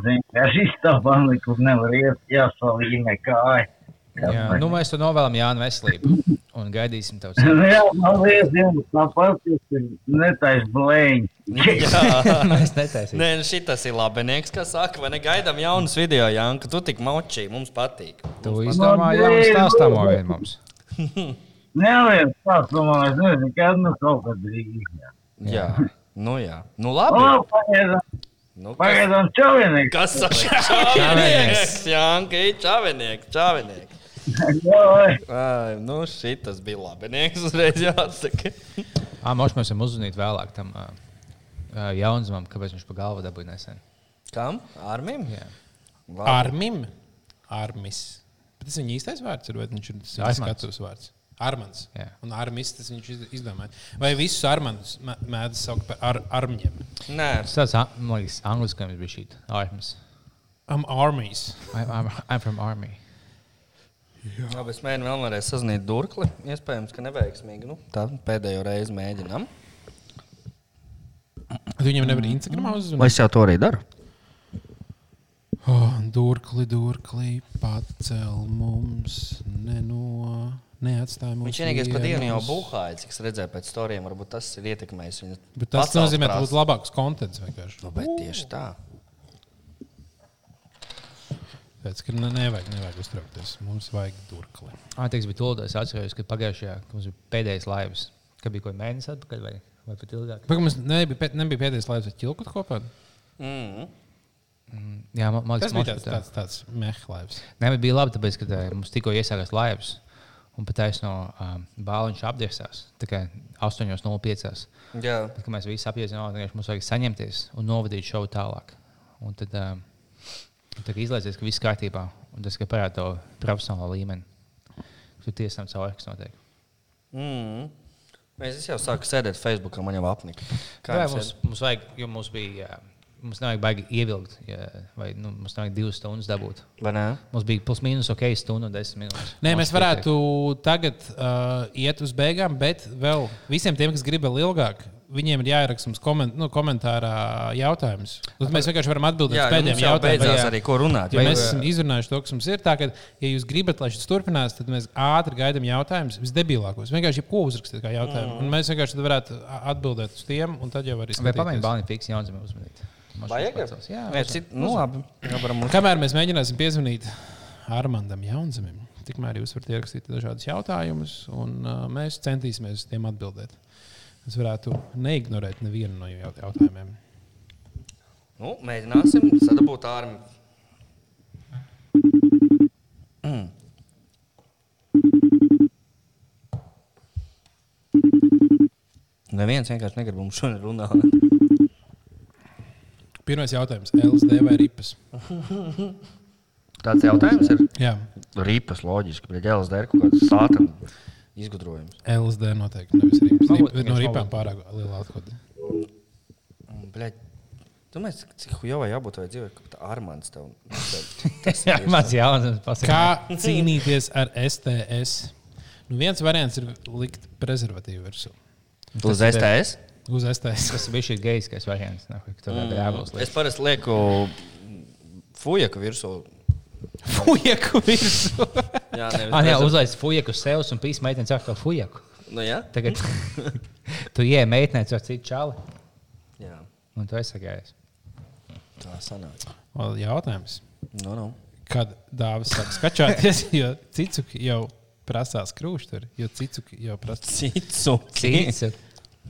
vienkārši istabā nekur nevar iet, jāsalīmē kāja. Jā, nu, mēs tev novēlam, Jānis, veselību. Un gaidīsim tev. Jā, paldies jums, tāpat jūs netaisn blēņi. Jā. Mēs netaisīsim. Nē, nu šis ir labinieks, kas saka, vai ne gaidām jaunus video, Jānis, ka tu tik močī, mums patīk. Tu izdomāji, jā, un stāstām vēl vienu mums. Neviens tāds, nu, man es nezinu, kad nu kaut kad drīz. jā. Jā, nu jā. Nu O, labi. pagaidām, Nu, kas- pagaidām čavienieks. Kas tas ir? Čāvinieks, Janka, čāvinieks, čāvinieks. Jā, vai? Ai, nu šitas bija labinieks, uzreiz jāatsaka. Ā, moš mēs varam uzzvanīt vēlāk tam uh, jaunzumam, kāpēc viņš pa galvu dabūja nesen. Kam? Armim? Jā. Labi. Armim. Armis. Bet tas viņa īstais vārds ir, vai viņš ir tas Armands. skatuves vārds? Armāns. Jā. Un armijas tas viņš iz- izdomāja. Vai visus armānus mē- mēdz saukt par ar armijiem? Nē, Tas tāds, ā, man liekas, angļuiski mums bija šī armas. Am armijas. I'm, I'm, I'm from army. labi, es mēģinu vēlreiz sazināt durkli. Iespējams, ka neveiksmīgi. Nu, tā pēdējo reizi mēģinām. Tu viņam nevar Instagramā uzzvanīt. Vai es jau to arī daru? Oh, durkli, durkli, pacel mums, neno, neatstāj mums. Viņš vienīgais par dienu jau vienus. buhāja, cik es redzēju pēc storiem. Varbūt tas ir ietekmējis viņu. Bet tas pacelt nozīmē, ka prasmi. būs labāks konteksts vienkārši. Nu, bet tieši tā. Tāpēc, ka ne, nevajag, nevajag uztraukties. Mums vajag durkli. Ātrīgs bija tūlīt, es atceros, ka pagājušajā gadā mums bija pēdējais laivas, kad bija kaut kāds mēnesis atpakaļ vai, vai pat ilgāk. Pagaidām, mums nebija, pē- nebija pēdējais laiks, kad ķilkot kopā. Mm. Jā, man man liekas, Tas bija moš tāds, pat, ā, tāds, tāds mehlājums. Nē, bet bija labi, tāpēc, ka tā, mums tikko iesākās laivas. Un pat aiz no um, bāliņa apgriezās. Tā kā 8,05. Jā, Tad, kad mēs visi apzināmies, ka mums vajag saņemties un novadīt šovu tālāk. Un tad, um, tad izlaižies, ka viss kārtībā. Un tas, ka parāda to profesionālo līmeni. Tur tiesām cauri, kas notiek. mm. Es es jau sāku sēdēt Facebook, man jau apnika. Kā jums mums, mums vajag, jo mums bija, jā, mums nevajag baigi ievilkt, jā, vai nu, mums nevajag divas stundas dabūt. ir? Vai nē? Mums bija plus mīnus ok, stundu un desmit minūtes. Nē, Mums mēs varētu tagad uh, iet uz beigām, bet vēl visiem tiem, kas grib vēl ilgāk, viņiem ir jāieraksta mums koment, nu, komentārā jautājums. Tad mēs vienkārši varam atbildēt Jā, uz pēdējiem pēdējiem jautājumiem jautājumiem. beidzās arī, ko runāt. Jo Jo mēs esam izrunājuši to, kas mums ir. Tā, ka, ja jūs gribat, lai šis turpinās, tad mēs ātri gaidām jautājumus, visdebilākos. Vienkārši jebko uzrakstīt kā jautājumu. Un mēs vienkārši tad varētu a- atbildēt uz tiem, un tad jau arī Vai pamēģināt skatīties. balni fiksēt, Jānis, uzmanīt? Moš Vajag? mums pacels. Jā, Nē, cit, nu, labi. Jā, varam uz... Kamēr mēs mēģināsim piezvanīt Armandam Jaunzemim, tikmēr jūs varat ierakstīt dažādus jautājumus, un uh, mēs centīsimies uz tiem atbildēt. Es varētu neignorēt nevienu no jau- jautājumiem. nu, mēģināsim sadabūt ārā. Mm. Neviens vienkārši negrib mums šodien runāt. Pirmais jautājums - LSD vai ripas? Tāds jautājums ir. Jā, Rīpas loģiski, bet ģēlis dera kaut kādas sātaņa izgudrojumus. LSD noteikti nevis ripas. Labu- Rip, no labu- ripām pārāk liela atklāta. Bļaļ, tu mēs, cik hujovai jābūt vai dzīvē, ka tā Armands tev. tas ir mans Jānis. pasaka. Kā cīnīties ar STS? Nu, viens variants ir likt prezervatīvu virsū. Uz STS? Uz STS. Tas bija šis gejskais variants, ne, kur tur bija jābūt. Mm. Es parasti lieku fujaku virsū. Fujaku virsū. Jā, Ah, jā, nevis. uzlaiž fujaku uz sevis un pīs meitene saka, ka fujaku. Nu, jā? Tagad tu ieej meitene, caur citu čali, jā, un tu esi gājis. tā sanāk. Vēl Jautājums. Nu, nu. Kad dāvis sāk skačāties, jo cicuki jau prasās krūšturi, jo cicuki jau prasās. Cicu. Cits.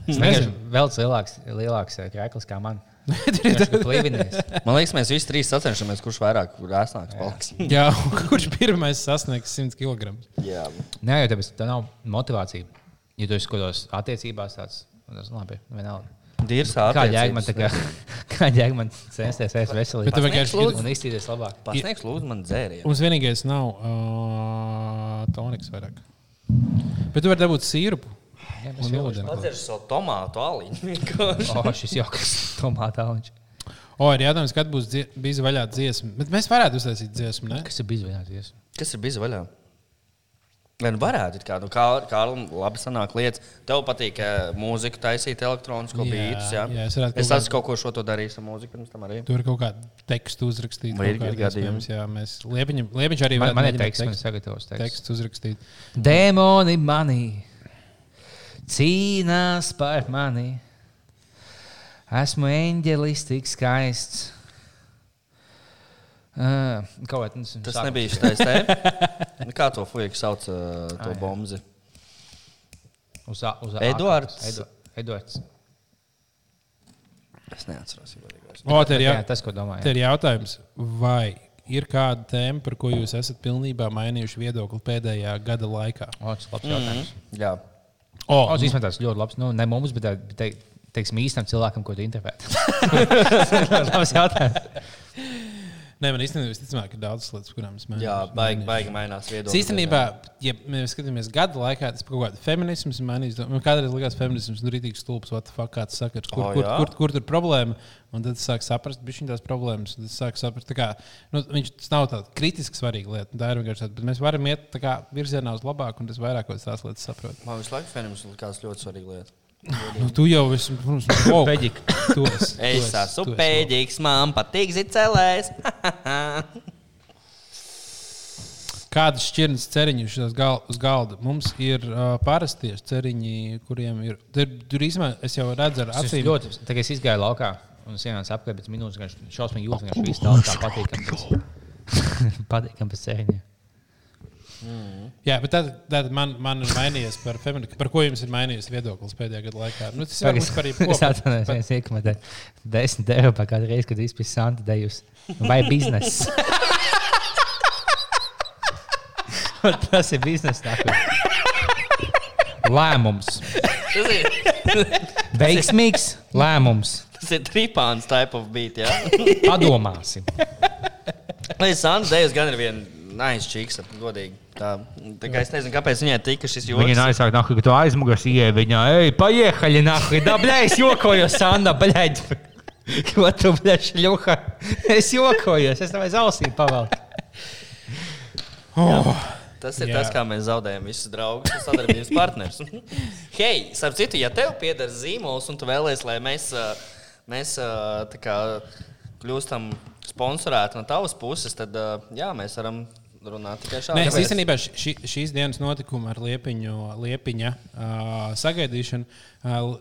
Es nezinu, vēl lielāks, lielāks eh, krēklis kā man. Tas ir plīvinies. Man liekas, mēs visi trīs sacenšamies, kurš vairāk rēsnāks paliks. Jā, un kurš pirmais sasniegs 100 kg? Jā. Nē, jau tāpēc tā nav motivācija. Ja tu esi kaut kādos attiecībās, tāds, nu, tas labi, vienalga. Dirsā. Kā jēga man, tā kā- kā jēga man censties, es veselīgi. Bet tev vienkārši ir. un izcīnīties labāk. Pasniegs lūdzu man dzērienu. Mums vienīgais nav uh, toniks vairāk. Bet tu vari dabūt sīrupu. Jā, Un mēs jau ūdeni. Padzeršu savu tomātu aliņu. vienkārši. Oh, šis jauks tomātāliņš. O, ir jautājums, kad būs dzie- bijis vaļā dziesma. Bet mēs varētu uztaisīt dziesmu, ne? Kas ir bijis vaļāties? Kas ir bijis vaļā? Vai nu varētu, it kā nu, kā Kārlim, labi sanāk lietas. Tev patīk eh, mūziku taisīt, elektronisko Jā, bītus. Jā, jā, es, es varētu kaut esmu kaut ko šo to darījis ar mūziku pirms tam arī. Tur ir kaut kāda teksta uzrakstīta. Vai ir kaut kāda gadījumi? iespējams, Jā, mēs Liepiņam, Liepiņš arī Man, varētu man ir mēģināt teiks, man ir tekstu- sagatavs teiks. tekstu uzrakstīt. Dēmoni manī cīnās par mani. Esmu eņģelis, tik skaists. Uh, kaut kā tas Tas Sākums. nebija šis te. Nu, Kā to fujeku sauc, eh, to bomzi? Uz, a- uz a- Eduards. Edu- Eduards. Es neatceros. ja godīgi. O, te ir, jā, Jā, tas, ko domāju. te ir jautājums, vai ir kāda tēma, par ko jūs esat pilnībā mainījuši viedokli pēdējā gada laikā? O, tas ir labs Mm. jautājums. Jā. O, Tas īstenībā tas ļoti labs. Nu, ne mums, bet tā- te, teiksim, īstam cilvēkam, ko tu intervē. labs jautājums. Nē, man īstenībā visticamāk ir daudzas lietas, kurām es mēģinu. Jā, baigi, baigi mainās Es viedokļi. īstenībā, ja mēs skatāmies gada laikā, tas kaut kāda feminisms ir mainījis. Man nu, kādreiz likās, ka feminisms ir rītīgs stulbs, what the fuck, kāds sakar, kur, O, oh, kur, jā? kur, kur tur ir problēma. Un tad sāk saprast, bija šīs problēmas. un Tad sāk saprast, tā kā, nu, viņš tas nav tāds kritiski svarīgs lietu. Tā ir vienkārši tāda, bet mēs varam iet tā kā virzienā uz labāku, un tas vairākos tās lietas saprot. Man visu laiku fenomenis likās ļoti svarīga lieta. Nu, tu jau esi, protams, woke. Peģik. Tu esi- tu Es esi- tu esmu esi woke. pēdīgs, man patīk zicelēs. Kādas šķirnes ceriņas šīs gal, uz galda? Mums ir uh, parastie ceriņi, kuriem ir. Tur, tur īstenībā es jau redzu ar Es acīm. ļoti, tagad es izgāju laukā un es ienācu apkārt pēc minūtes, kad es šausmīgi jūtu, ka šis tāds kā patīkams. pēc- Patīkams pēc sēņa. Jā, bet tad, tad man, man ir mainījies par feministiem. Par ko jums ir mainījies viedoklis pēdējā gada laikā? Nu, tas ir varbūt par Es jebko. atceros, viens iekomentē 10 eiro par katru reizi, kad izpējas Santa Dejus vai biznesa. Tas ir biznesa nākamais. Lēmums. Tas ir, Veiksmīgs lēmums. tas ir tripāns type of beat, jā. Padomāsim. Lai Sandra Dejus gan ir viena nice čīks, godīgi. Tā, tā kā es nezinu, kāpēc viņai tika šis Viņa joks. aizsāk, nahu, ka tu aizmugurs ieej viņa, ej, paiehaļi, nahu, da, bļē, es jokoju, Sanda, bļē. Ko tu, bļē, šļuha? Es jokoju, es tev aiz ausīm pavēlu. Oh! Tas ir Jā. jā. tas, kā mēs zaudējam visus draugus un sadarbības partnerus. Hei, starp citu, ja tev pieder zīmols un tu vēlēsies, lai mēs, ā, mēs ā, tā kā kļūstam sponsorēti no tavas puses, tad ā, jā, mēs varam runāt tikai šādi. Nē, es īstenībā ši, ši, šīs dienas notikumu ar liepiņu, liepiņa uh, sagaidīšanu uh,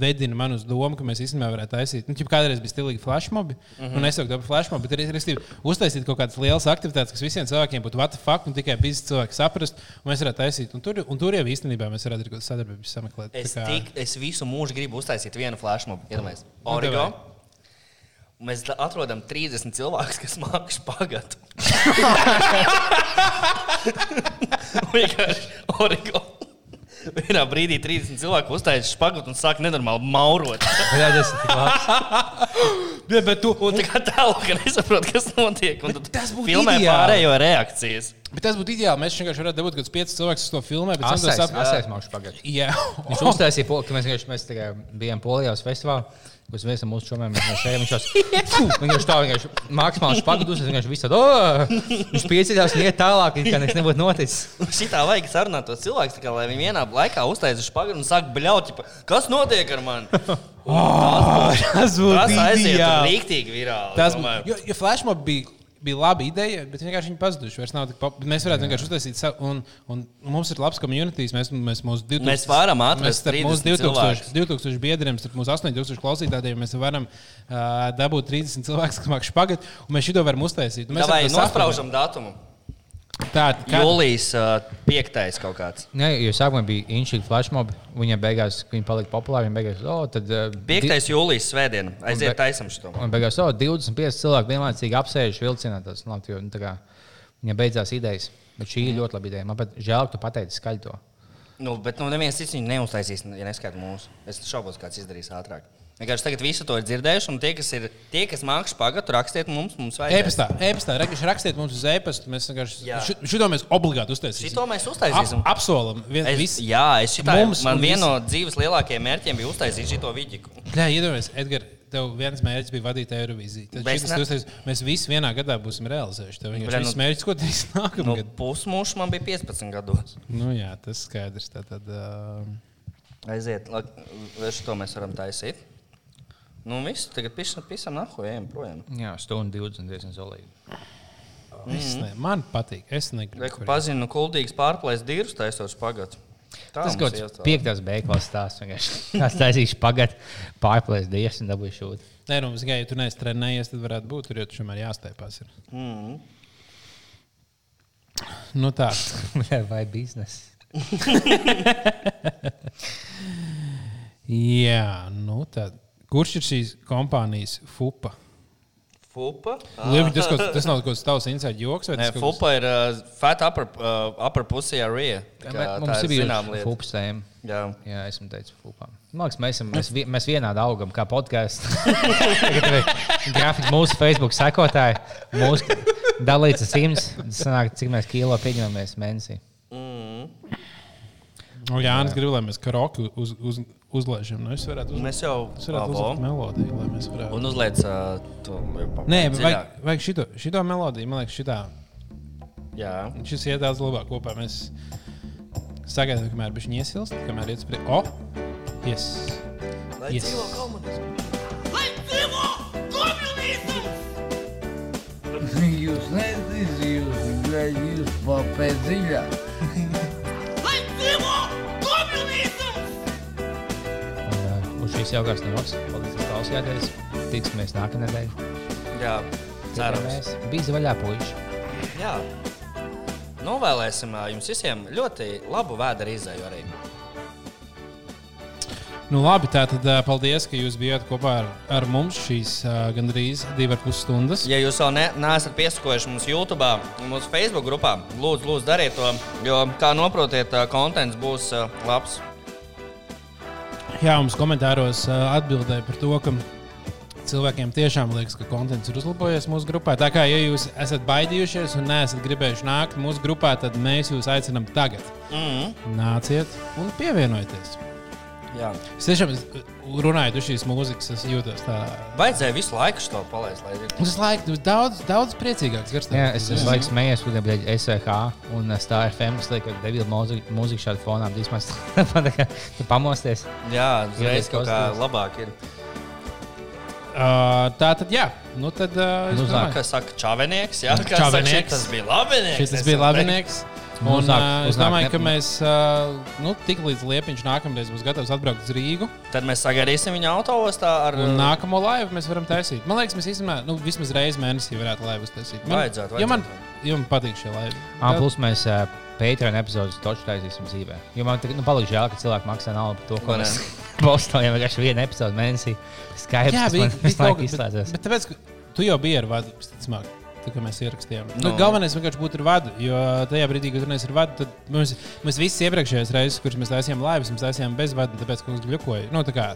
vedina man uz domu, ka mēs īstenībā varētu taisīt. Nu, ķip, kādreiz bija stilīgi flashmobi, mm -hmm. un es saprotu, ka flashmobi bet arī ir uztaisīt kaut kādas lielas aktivitātes, kas visiem cilvēkiem būtu what the fuck, un tikai bijusi cilvēki saprast, un mēs varētu taisīt. Un tur, un tur jau īstenībā mēs varētu arī kaut kādu sadarbību sameklēt. Es, Tā kā- tik, es visu mūžu gribu uztaisīt vienu flashmobu. Iedomājies, Origo. Nu, davai. Mēs da- atrodam 30 cilvēkus, kas māca spagātu. Vienkārši Origo. Vienā brīdī 30 cilvēku uztaisīja spagātu un sāk nenormāli maurot. Jā, tas ir tik labi. Ja, bet tu, Un tā kā tālu, ka nesaprot, kas notiek. Un tad tas būtu filmē ideāli. pārējo reakcijas. bet tas būtu ideāli. Mēs vienkārši varētu dabūt kaut kādus piecus cilvēkus, kas to filmē. bet centos Asais, sap- asais mākšu pagaidu. Jā, Viņš uztaisīja, pol- ka mēs, vienkārši- mēs tikai bijām Polijā uz festivālu. Kurš viens no mūsu čomiem viņš no šejienes, viņš šeit jau vienkārši tā, vienkārši mākslinieks pagudus, viņš vienkārši visu tādu, viņš pieceļās un iet tālāk, it kā nekas nebūtu noticis. Šitā vajag sarunāt to cilvēku, tā kā, lai viņi vienā laikā uztaisītu spagātu un sāk bļaut, ķipa, kas notiek ar mani? Ah, tas Tas aiziet rīktīgi virāli. Tas Tas bija. man Jo, jo flashmob bija, bija laba ideja, bet vienkārši viņi pazuduši. vairs nav tik pop- Mēs varētu jā. vienkārši uztaisīt savu, un, un mums ir labs komunitīs. Mēs, mēs, mūsu 2000 Mēs varam mēs atrast starp mūsu 30 2000, 2000 biedriem, starp mūsu 8000 klausītājiem, mēs varam uh, dabūt 30 cilvēkus, kas mākslinieks pagat, un mēs šito varam uztaisīt. Un Mēs Vai varam to nospraužam datumu? saprast. Tā, Kad? kā, Jūlijas uh, 5. kaut kāds. Nē, jo sākumā bija inšīga flashmob, viņa beigās viņa palika populāra, viņa beigās, oh, tad eh, di- 5. jūlijas svētdiena. Aiziet, taisam šo. Un beigās jau 25 cilvēki vienlaicīgi apsēžas vilcienā. Tas nu, labi, jo, nu, tā kā viņam beidzās idejas. Bet šī ir ļoti laba ideja. Man pat žēl, ka tu pateici skaļi to. Nu, bet nu, neviens cits viņu neuztaisīs, ja neskaidrs mūsu. Es šaubos, kāds izdarīs ātrāk. Vienkārši tagad visu to ir dzirdējuši, un tie, kas, ir- tie, kas mākslinieci pagātu, rakstiet mums, mums vajag. E-pastā, e-pastā, Re, viņš rakstiet mums uz e-pastu. Mēs vienkārši Jā. ši- šito mēs obligāti uztaisīsim. Šito mēs uztaisīsim. Ap, apsolam, viens Es, visi. jā, es šitā, Mums man un viens no dzīves lielākajiem mērķiem bija uztaisīt šo vidiku. Jā, iedomājieties, Edgars, tev viens mērķis bija vadīt Eirovīziju. Tad Bet šis, ne- ne... tūs, mēs visi vienā gadā būsim realizējuši. Tev Bļa, vienkārši nu- viss mērķis, ko darīs Nu, nākamgad. Pusmūžs man bija 15 gados. Nu, nu, jā, tas skaidrs. Tā, tad, uh, Aiziet, lai vai šo to mēs varam taisīt. Nu, viss, tagad pisam, pisam nahu, ejam projām. Jā, stundu 20 diezgan zolīgi. es Mhm. ne, man patīk. Es Reku negribu. pazinu, nu, kuldīgs pārplēs dīrus taisot spagatu. Tā Tas mums kaut kāds iestāda. piektais beigās stāsts. vienkārši. Kāds taisīšu pagad, pārplēs dievs un dabūšu šūdu. Nē, nu, tikai, ja tu neesi trenējies, tad varētu būt tur, jo tur vienmēr jāsteipās. ir. Mm. Nu, tā. Vai biznesa? Jā, nu, tā. Kurš ir šīs kompānijas fupa? Fupa. Liebiņ, tas, kaut, tas nav kaut kāds tavs inside joks, vai Nē, tas kaut kas- fupa ir uh, fat upper, uh, upper pussy area. Tā, kā tā Mums ir ir bijusi zināma lieta. fupas tēma. Jā. Jā, es jums teicu, fupām. Nu. Man liekas, mēs, esam- mēs, vi- mēs vienādi augam, kā podkāsts. Grafiski mūsu Facebook sekotāji, mūsu dalīts ar simts. Tas sanāk, cik mēs kilo pieņemamies mēnesī. Nu, Jānis grib, lai mēs karoku uz, uz, uzlaižam. Nu, es varētu uzlikt Mēs jau es varētu uzlikt uzliekam. melodiju, lai mēs varētu. Un uzliec uh, to jau Nē, bet vajag, vajag šito, šito melodiju, man liekas, šitā. Jā. Šis iet daudz labāk kopā. Mēs sagaidām, kamēr viņš iesilst, kamēr iet spri... O! Yes. Lai Yes. dzīvo komunismu. Jūs nezināt, jūs gribat, jūs papēdziļā. Un, uh, uz šīs jaukās nots, paldies, ka klausījāties. Tiksimies nākamā nedēļa. Jā. Cerams. Tiekamies. Bija zvaigžā puiši. Jā. Novēlēsim ā, jums visiem ļoti labu vēdera izēju arī. Nu, labi, tātad ā, paldies, ka jūs bijāt kopā ar, ar mums šīs ā, gandrīz divas ar pus stundas. Ja jūs vēl ne, neesat piesakojuši mums YouTube, mūsu Facebook grupā, lūdzu, lūdzu dariet to, jo, kā noprotiet, ā, kontents būs ā, labs. Jā, mums komentāros ā, atbildēja par to, ka cilvēkiem tiešām liekas, ka konteksts ir uzlabojies mūsu grupā. Tā kā, ja jūs esat baidījušies un neesat gribējuši nākt mūsu grupā, tad mēs jūs aicinām tagad. Mm -hmm. Nāciet un pievienojieties. Jā. Es tiešām es, runāju par šīs mūzikas, es jūtos tādā. Vajadzēja visu laiku šo palaist. Lai... Tas laikam ir daudz, daudz priecīgāks. Garš, Jā, es esmu laikam smējies, kad bija SVH un uh, Star FM. Es lieku, ka Davida mūzika mūzika šādi fonā. Vismaz tā kā tu pamosties. Jā, Ieliec uzreiz kaut kā kosmos. labāk ir. Uh, tā tad, jā, nu tad. Uh, es Nu, domāju, Kā saka, čavenieks. Jā, kā Nu, Saka, Čavenieks. tas bija labinieks. Šis bija labinieks. Un, Uznāk- uh, es uznāk domāju, ka ne- mēs uh, nu, tik līdz liepiņš nākamreiz būs gatavs atbraukt uz Rīgu. Tad mēs sagaidīsim viņu autostāvā ar Un nākamo laivu mēs varam taisīt. Man liekas, mēs īstenībā nu, vismaz reizi mēnesī varētu laivu uztaisīt. Man, Vajadzētu, jo man, jo man patīk šie laivi. Ah, plus mēs uh, Patreon epizodus taču taisīsim dzīvē. Jo man tagad, nu, paliek žēl, ka cilvēki maksā naudu par to, Vai ko ne? mēs postojam. Vienkārši vienu epizodu mēnesī. Skaidrs, Jā, ka bija man visu kaut laiku kas izslēdzas. Bet, bet tāpēc, ka tu jau biji ar vadu, visticamāk. tā kā Mēs ierakstījām. No. Nu, Nu. galvenais vienkārši būtu ar vadu. Jo tajā brīdī, kad runājām ar vadu, tad mums, mēs visi iepriekšējās reizes, kuras mēs taisījām laivas, mēs taisījām bez vada, tāpēc ka mums glukoja. Nu, tā kā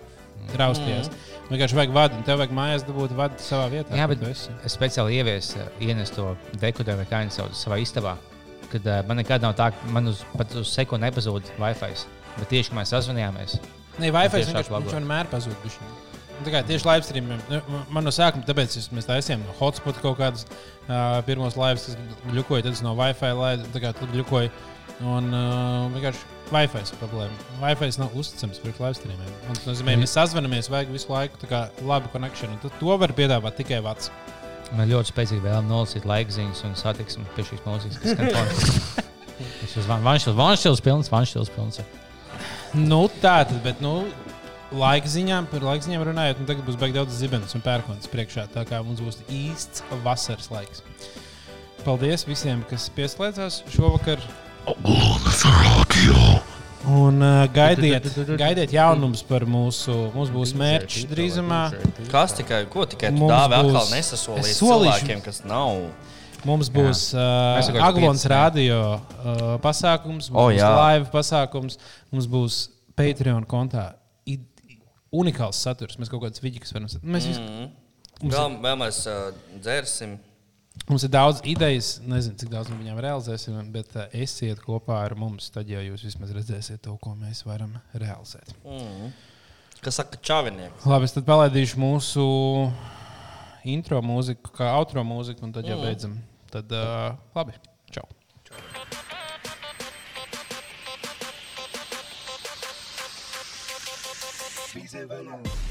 raustījās. Mm. Vienkārši vajag vadu, un tev vajag mājās dabūt vadu savā vietā. Mhm. Jā, kur bet tu esi. es speciāli ieviesu ienes to dekodēju, vai kā viņi sauc savā istabā. Kad uh, man nekad nav tā, ka man uz, pat uz sekundi nepazūd Wi-Fi. Bet tieši, kad mēs sazvanījāmies, Nē, Wi-Fi Nu, Tiešāk vienkārši labāk. viņš vienmēr pazūd. bišķiņ. Un Tā kā tieši live streamiem, nu, man no sākuma, tāpēc es, mēs taisījām no hotspot kaut kādas uh, pirmos laivas, kas glukoja, tad es no Wi-Fi laidu, tā kā tur glukoja. Un uh, vienkārši Wi-Fi ir problēma. Wi-Fi nav uzticams priekš live streamiem. Un Tas nozīmē, ka mēs sazvanamies, vajag visu laiku tā kā labu konekšanu. Tad to var piedāvāt tikai Vats. man ļoti spēcīgi vēlams nolasīt laikziņas un satiksmi pie šīs mūzikas, kas skan fonā. Tas ir Vanšils, Vanšils pilns, Vanšils pilns. Nu, tā tad, bet nu, laika ziņām, par laika ziņām runājot, nu, tagad būs baigi daudz zibens un pērkons priekšā. Tā kā mums būs īsts vasaras laiks. Paldies visiem, kas pieslēdzās šovakar. Algolnas radio. Un uh, gaidiet, gaidiet jaunumus par mūsu. Mums būs mērķis drīzumā. Kas tikai, ko tikai tu Mums dāvi atkal būs- nesasolīji Es solīšu cilvēkiem, kas nav. Mums būs Mēs uh, jau kaut kāds Aglons piecas, jā. radio uh, pasākums, mums O, būs jā. live pasākums, mums būs Patreon kontā. Id- Unikāls saturs. Mēs kaut kādas vidīgas varam. sat- Mēs visu Vēl, vēlamies uh, dzersim. Mums ir daudz idejas, nezinu, cik daudz no viņiem realizēsim, bet eh, esiet kopā ar mums. Tad jau jūs vismaz redzēsiet to, ko mēs varam realizēt. Kas saka, čāvinieks? Labi, es tad palaidīšu mūsu intro mūziku, kā outro mūziku, un tad jau beidzam. Tad uh, labi, čau. Vice versa.